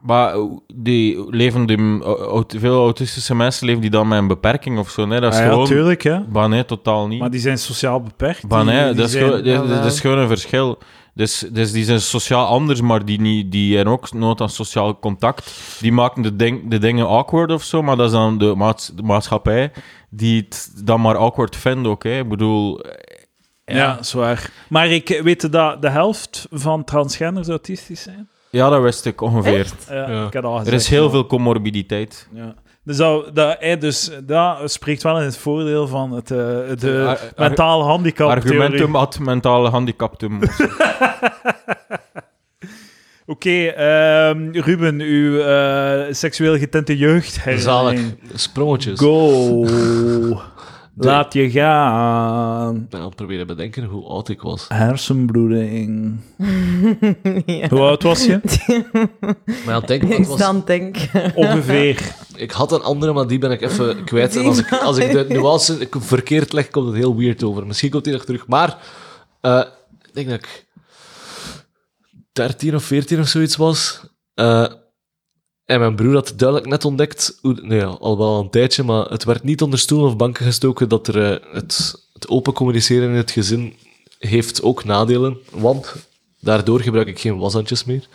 Maar die leven die, au- veel autistische mensen leven die dan met een beperking of zo. Nee, dat is Ah ja, gewoon... tuurlijk, hè. Maar nee, totaal niet. Maar die zijn sociaal beperkt. Van, die, hè, die dat, is zijn- gewoon- dat- Jawel. dat is gewoon een verschil. Dus, dus die zijn sociaal anders, maar die, niet, die hebben ook nood aan sociaal contact. Die maken de, ding, de dingen awkward of zo, maar dat is dan de, maats, de maatschappij die het dan maar awkward vindt ook. Hè. Ik bedoel... eh, ja. zwaar. Maar ik eh, weet je dat de helft van transgenders autistisch zijn. Ja, dat wist ik ongeveer. Ja, Ja. Ik had al Er gezegd, is heel ja. veel comorbiditeit. Ja. Dus, dat, dat, hij dus dat spreekt wel in het voordeel van het, eh, de Ar- ar- mentale handicap Argumentum ad mentale handicaptum. Oké, ehm, Ruben, uw eh, seksueel getinte jeugd. Zalig. Sprongetjes. Go. Laat je gaan. Ik ben aan het proberen te bedenken hoe oud ik was. Hersenbloeding. Ja. Hoe oud was je? Maar aan het denken, Ik het was dan denk Ongeveer. Ik had een andere, maar die ben ik even kwijt. En als ik, als ik de nuance ik- verkeerd leg, komt het heel weird over. Misschien komt die nog terug. Maar eh, ik denk dat ik 13 of 14 of zoiets was. Eh, en mijn broer had duidelijk net ontdekt, hoe, nee, ja, al wel een tijdje, maar het werd niet onder stoelen of banken gestoken dat er, eh, het, het open communiceren in het gezin heeft ook nadelen. Want daardoor gebruik ik geen washandjes meer.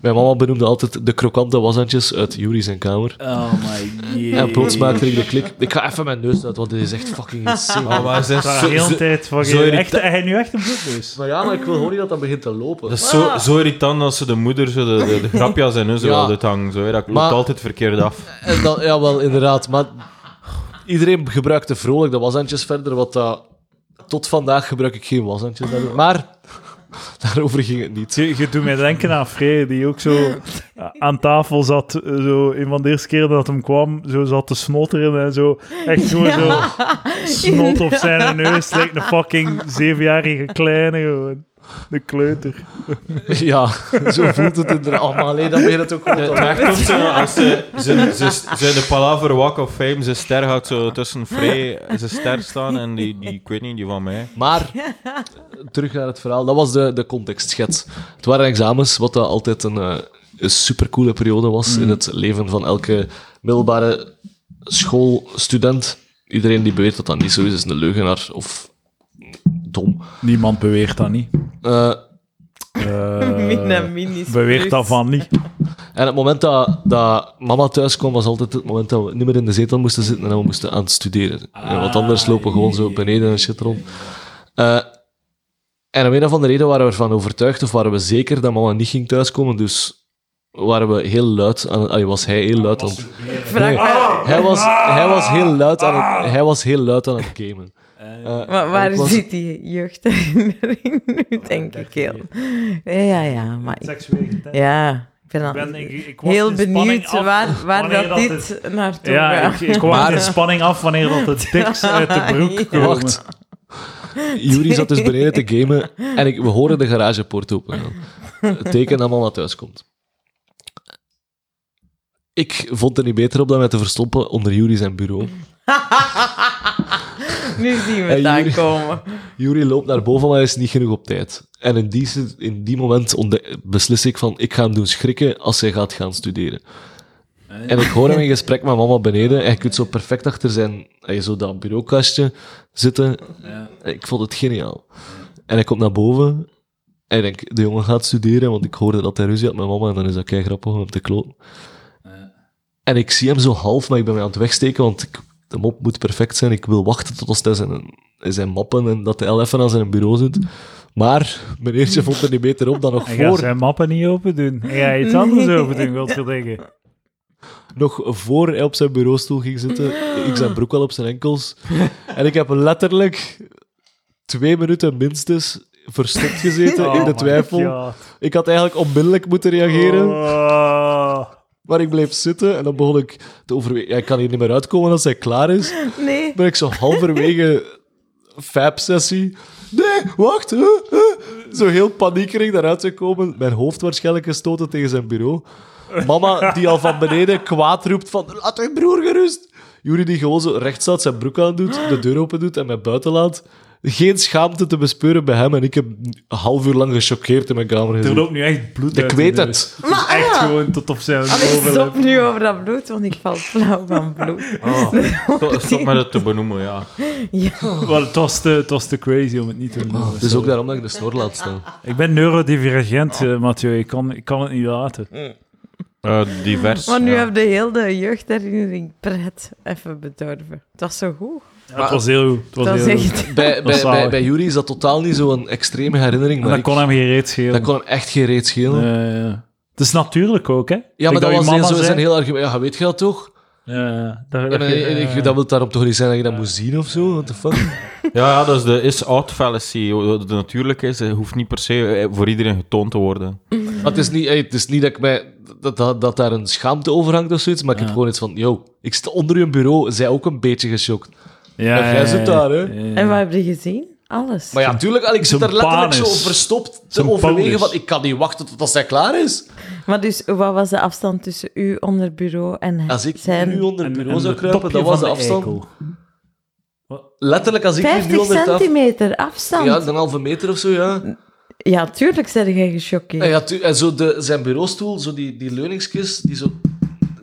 Mijn mama benoemde altijd de krokante washandjes uit Yuri zijn kamer. Oh my jee. En plots maakte ik de klik. Ik ga even mijn neus uit, want dit is echt fucking insane. Oh, maar ze is De zo, zo- hele tijd van... zo je- irrita- Echt, hij nu echt een bloedneus. Maar ja, maar ik wil gewoon niet dat dat begint te lopen. dat is zo, zo irritant als ze de moeder zo de, de, de grapje aan zijn neus Ja. wilde hangen. Zo, hè. dat loopt Maar- altijd verkeerd af. Ah. En dan, ja, wel, inderdaad. Maar iedereen gebruikte vrolijk de washandjes verder, wat dat... Tot vandaag gebruik ik geen washandjes. daardoor. Maar daarover ging het niet. Je, je doet mij denken aan Frey, die ook zo aan tafel zat. eh, Zo, een van de eerste keren dat hem kwam, zo zat te snotteren en zo. Echt gewoon zo snot op zijn neus. Lijkt een fucking zevenjarige kleine gewoon. De kleuter. Ja, zo voelt het inderdaad. Oh, maar alleen dan ben je het ook goed. Het maakt ook zo, als ze, ze, ze, ze in de Palaver Walk of Fame, ze ster gaat zo tussen Frey, ze ster staan en die, die, ik weet niet, die van mij. Maar terug naar het verhaal. Dat was de, de contextschets. Het waren examens, wat dat altijd een, eh, een supercoole periode was in het leven van elke middelbare schoolstudent. Iedereen die beweert dat dat niet zo is, is een leugenaar of dom. Niemand beweert dat niet. Eh, Mina minis. Beweert Eh, dat van niet. en het moment dat, dat mama thuis kwam, was altijd het moment dat we niet meer in de zetel moesten zitten en dat we moesten aan het studeren. Eh, want anders lopen we gewoon zo beneden en shit rond. Eh, en om een of andere reden waren we ervan overtuigd, of waren we zeker dat mama niet ging thuiskomen, dus waren we heel luid aan het... allee, was hij heel luid aan het... Vraag Nee. Ah! maar, Hij was, hij was heel luid aan het, hij was heel luid aan het gamen. Eh, wa- waar ik was- zit die jeugdherinnering nu, denk ik heel. Ja, ja, ja. Maar ik, ja, ik ben, al- heel benieuwd waar, waar dat dit naartoe Ja, ik, gaat. ik wacht Maar- in spanning af wanneer dat het diks uit de broek komt. Ja. Wacht. Juri zat dus beneden te gamen en ik, we horen de garagepoort open. Het teken dat mama thuis komt. Ik vond het niet beter op dan mij te verstoppen onder Juri zijn bureau. Nu zien we En het jullie- aankomen. Juri loopt naar boven, maar hij is niet genoeg op tijd. En in die, se- in die moment ontde- beslis ik van, ik ga hem doen schrikken als hij gaat gaan studeren. En ik hoor hem in gesprek met mama beneden. En je kunt zo perfect achter zijn, eh, zo dat bureaukastje zitten. Ik vond het geniaal. En hij komt naar boven. En ik denk, de jongen gaat studeren, want ik hoorde dat hij ruzie had met mama. En dan is dat kei grappig om hem te kloten. En ik zie hem zo half, maar ik ben mij aan het wegsteken, want ik, de mop moet perfect zijn. Ik wil wachten tot als hij zijn, zijn mappen en dat hij al even aan zijn bureau zit. Maar meneertje vond er niet beter op dan nog Hij gaat voor zijn mappen niet open doen. Hij gaat iets anders open doen, godverdikke. nog voor hij op zijn bureaustoel ging zitten. Ik zijn broek al op zijn enkels. En ik heb letterlijk twee minuten minstens verstopt gezeten in Oh de my twijfel. God. Ik had eigenlijk onmiddellijk moeten reageren, Oh. maar ik bleef zitten en dan begon ik te overwegen. Ja, ik kan hier niet meer uitkomen als hij klaar is. Nee. ben ik zo halverwege fab-sessie. Nee, wacht. huh, huh. Zo heel paniekerig daaruit te komen. Mijn hoofd waarschijnlijk gestoten tegen zijn bureau. Mama, die al van beneden kwaad roept van... Laat mijn broer gerust. Juri, die gewoon zo recht staat, zijn broek aandoet, de deur open doet en mij buiten laat. Geen schaamte te bespeuren bij hem. En ik heb een half uur lang gechoqueerd in mijn kamer Er gezeten. loopt nu echt bloed Ik uit weet de neus. het. Dus echt gewoon tot op zijn ah. Maar ik overlip. stop nu over dat bloed, want ik val flauw van bloed. Oh, Stop, stop met het te benoemen, ja. Maar het was, te, het was te crazy om het niet te doen. Dus Het is Ah, Dus ook daarom dat ik de snor laat staan. Ik ben neurodivergent, eh, Mathieu. Ik kan, ik kan het niet laten. Eh, divers. Maar nu ja. heb je heel de jeugdherinnering pret even bedorven. Het was zo goed. het was heel goed. Het was Dat is heel goed. echt... Bij, bij, bij, zalig. bij Juri is dat totaal niet zo'n extreme herinnering. En Maar dat ik- kon hem geen reet schelen. dat kon hem echt geen reet schelen. Eh, ja. het is natuurlijk ook, hè? Ja, maar Like dat, je was heel, mama zo zijn zei. heel argument. Ja, weet je dat toch? Ja, dat, En, dat, je- eh, ik, dat wil daarom toch niet zijn dat je dat moet zien of zo? What the fuck? Ja, ja, dat is de is-out fallacy. Wat het natuurlijk is, het hoeft niet per se eh, voor iedereen getoond te worden. Maar het is niet, eh, het is niet dat, ik mij, dat, dat, dat daar een schaamte over hangt of zoiets, maar ik heb gewoon iets van: yo, ik zit onder je bureau, zij ook een beetje geschokt. ja, en jij zit daar, hè? ja, ja. En wat heb je gezien? Alles. Maar ja, natuurlijk, ik zit zijn daar letterlijk zo panus. verstopt te Zijn overwegen: panus. van, ik kan niet wachten tot als zij klaar is. Maar dus, wat was de afstand tussen u onder bureau en Als ik zijn? nu onder En- het en bureau de zou kruipen, topje dat was de van afstand. eikel. Letterlijk, als ik nu 50 onder tafel. centimeter afstand. Ja, Ja, een halve meter of zo, ja. tuurlijk zijn jij Ja, gechoqueerd. ja, tu- en zo de, zijn bureaustoel, zo die, die leuningskist, die zo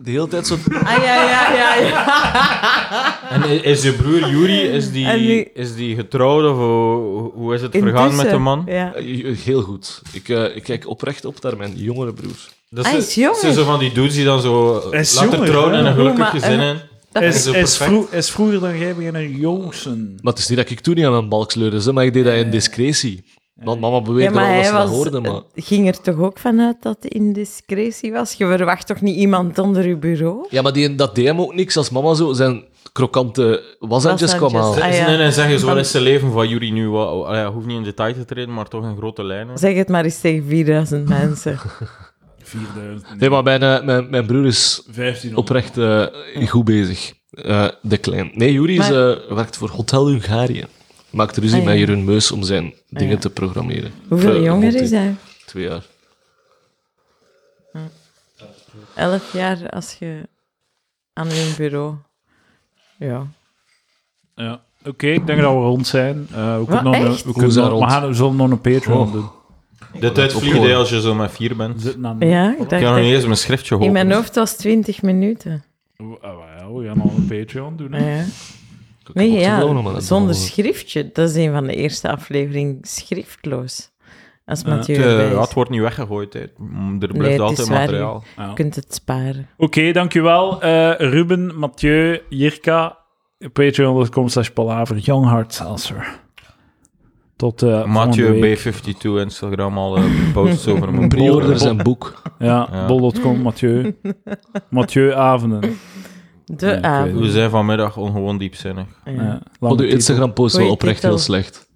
de hele tijd zo... Ah, ja, ja, ja, ja. En i- is je broer Juri, is die, En nu- is die getrouwd of hoe, hoe is het vergaan met Intussen, de man? Ja. Eh, Heel goed. Ik, eh, ik kijk oprecht op naar mijn jongere broer. Dat Ah, Hij is jonger. zijn Dus zo van die dudes die dan zo Hij is later jonger, trouwen en hè? een gelukkig Maar, eh, gezin in. Is, is, Zo perfect. vroeg- is vroeger dan jij beginnen jongsen. Maar het is niet dat ik toen niet aan mijn balk sleurde, hè, maar ik deed dat in discretie. Want mama Ja, beweerde maar wel dat hij ze dat was, eh, hoorde, maar... ging er toch ook vanuit dat het indiscretie was? Je verwacht toch niet iemand onder je bureau? Ja, maar die, dat deed hem ook niks als mama zo zijn krokante washandjes kwam Washandjes. halen. Ah, ja. Nee, nee, zeg eens, wat Van- is het leven van jullie nu? Wat, oh, ja, hoeft niet in detail te treden, maar toch in grote lijnen. Zeg het maar eens tegen 4000 mensen. 4000. Nee, maar mijn, eh, mijn, mijn broer is 1500. oprecht eh, goed bezig. Eh, de klein. Nee, Juri is, Maar- eh, werkt voor Hotel Hungarië. Maakt ruzie Ah, ja. Ah, met Jeroen Meus om zijn dingen ja. te programmeren. Hoeveel Eh, jonger rond is die hij? Twee jaar. Elf jaar als je aan hun bureau. Ja. Ja. Oké, ik denk dat we rond zijn. Eh, we, Wat, kunnen nog een- echt? we, Hoe kunnen is dat nog- we, rond? gaan, we zullen nog een Patreon Oh. doen. De tijd vliegt opgehoord. hè, als je zo met vier bent. We zitten aan- ja, ik Ik dacht kan nog dat- niet eens mijn schriftje In hopen. mijn hoofd was 20 minuten. Ah, We, ah, wel, we gaan nog een Patreon doen. hè. Ja. Ik heb Nee, ook opgenomen, maar ja, dat zonder begon- schriftje. Dat is een van de eerste afleveringen schriftloos. Als Ja. Mathieu Het, eh, erbij is. ja, het wordt niet weggegooid. Hè. Mm, Er Nee, blijft het altijd is waar. materiaal. Ja. Je Oké, kunt het sparen. dankjewel. Eh, Ruben, Mathieu, Jirka, patreon.com slash palaver, Young Heart Seltzer. Tot eh volgende Mathieu week. B52 Instagram al eh, posts over mijn Pre-order boeken. zijn boek. Ja, Ja. bol.com, Mathieu. Mathieu Avenden. De Nee, ik avond. We zijn vanmiddag ongewoon diepzinnig. Ja. Ja, Want Eh, lange uw titel. Instagram-post was Goeie oprecht titel. heel slecht.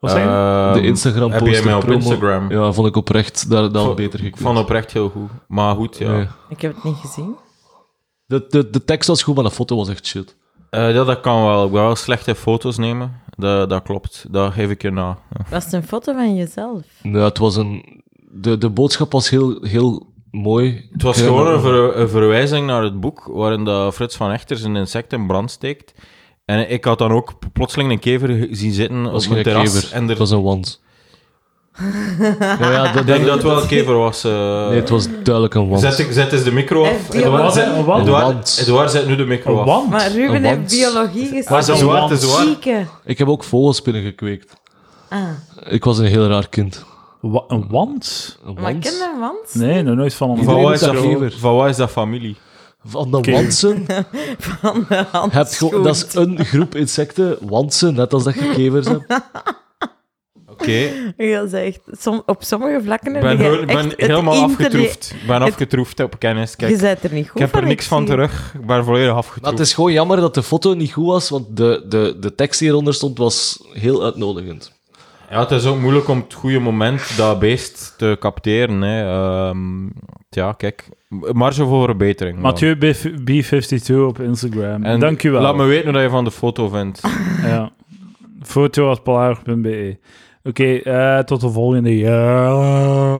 Wat zei je? Ehm, De Instagram-post. Heb jij mij de op promo- Instagram? Ja, vond ik oprecht. Daar, daar had beter Ik gekund. vond oprecht heel goed. Maar goed, ja. Nee. Ik heb het niet gezien. De, de, de tekst was goed, maar de foto was echt shit. Eh, ja, dat kan wel. Ik wil wel slechte foto's nemen. Dat, dat klopt. Dat geef ik je na. Ja. Was het een foto van jezelf? Nou, het was een... De, de boodschap was heel, heel mooi. Het was Ja, gewoon maar- een, ver- een verwijzing naar het boek waarin dat Frits van Echter zijn insect in brand steekt. En ik had dan ook plotseling een kever zien zitten was op geen een terras. kever. En Het er, was een wand. ja, ja, dat, ik denk dat het wel een kever was. eh. Nee, het was duidelijk een wand. zet, ik- zet eens de micro af. Een Edouard, wand. zet, Een wand. Edouard- Een wand. Edouard, zet nu de micro Een af. wand? Maar Ruben Een heeft wand. biologie gespeeld. Maar zo zwart is zwart. Chique. Ik heb ook vogelspinnen gekweekt. Ah, Ik was een heel raar kind. Wa- een wand? Een maar wand? ken je een wand? Nee, nog nooit van een Van Iedereen wat, wand. is is dat, een kever. van wat is dat familie? Van de Kever. wantsen? Van de hand. Heb je, dat is een groep insecten, wantsen, net als dat je kevers hebt. Oké, Dat is echt... som- op sommige vlakken ik heb ben, je heel- ik ben echt het helemaal internet- afgetroefd. Ik ben afgetroefd op kennis. Kijk, Je bent er niet ik goed heb er voor, niks van zie. terug. Ik ben volledig Maar afgetroefd. het is gewoon jammer dat de foto niet goed was, want de, de, de tekst die eronder stond was heel uitnodigend. Ja, het is ook moeilijk om het goede moment dat beest te capteren. Hè. Ehm, ja, kijk. Marge voor verbetering. wel. Mathieu B- B52 op Instagram. En Dankjewel. Laat me weten wat je van de foto vindt. Ja. E. Foto.palaver.be. Oké, eh, tot de volgende. Ja.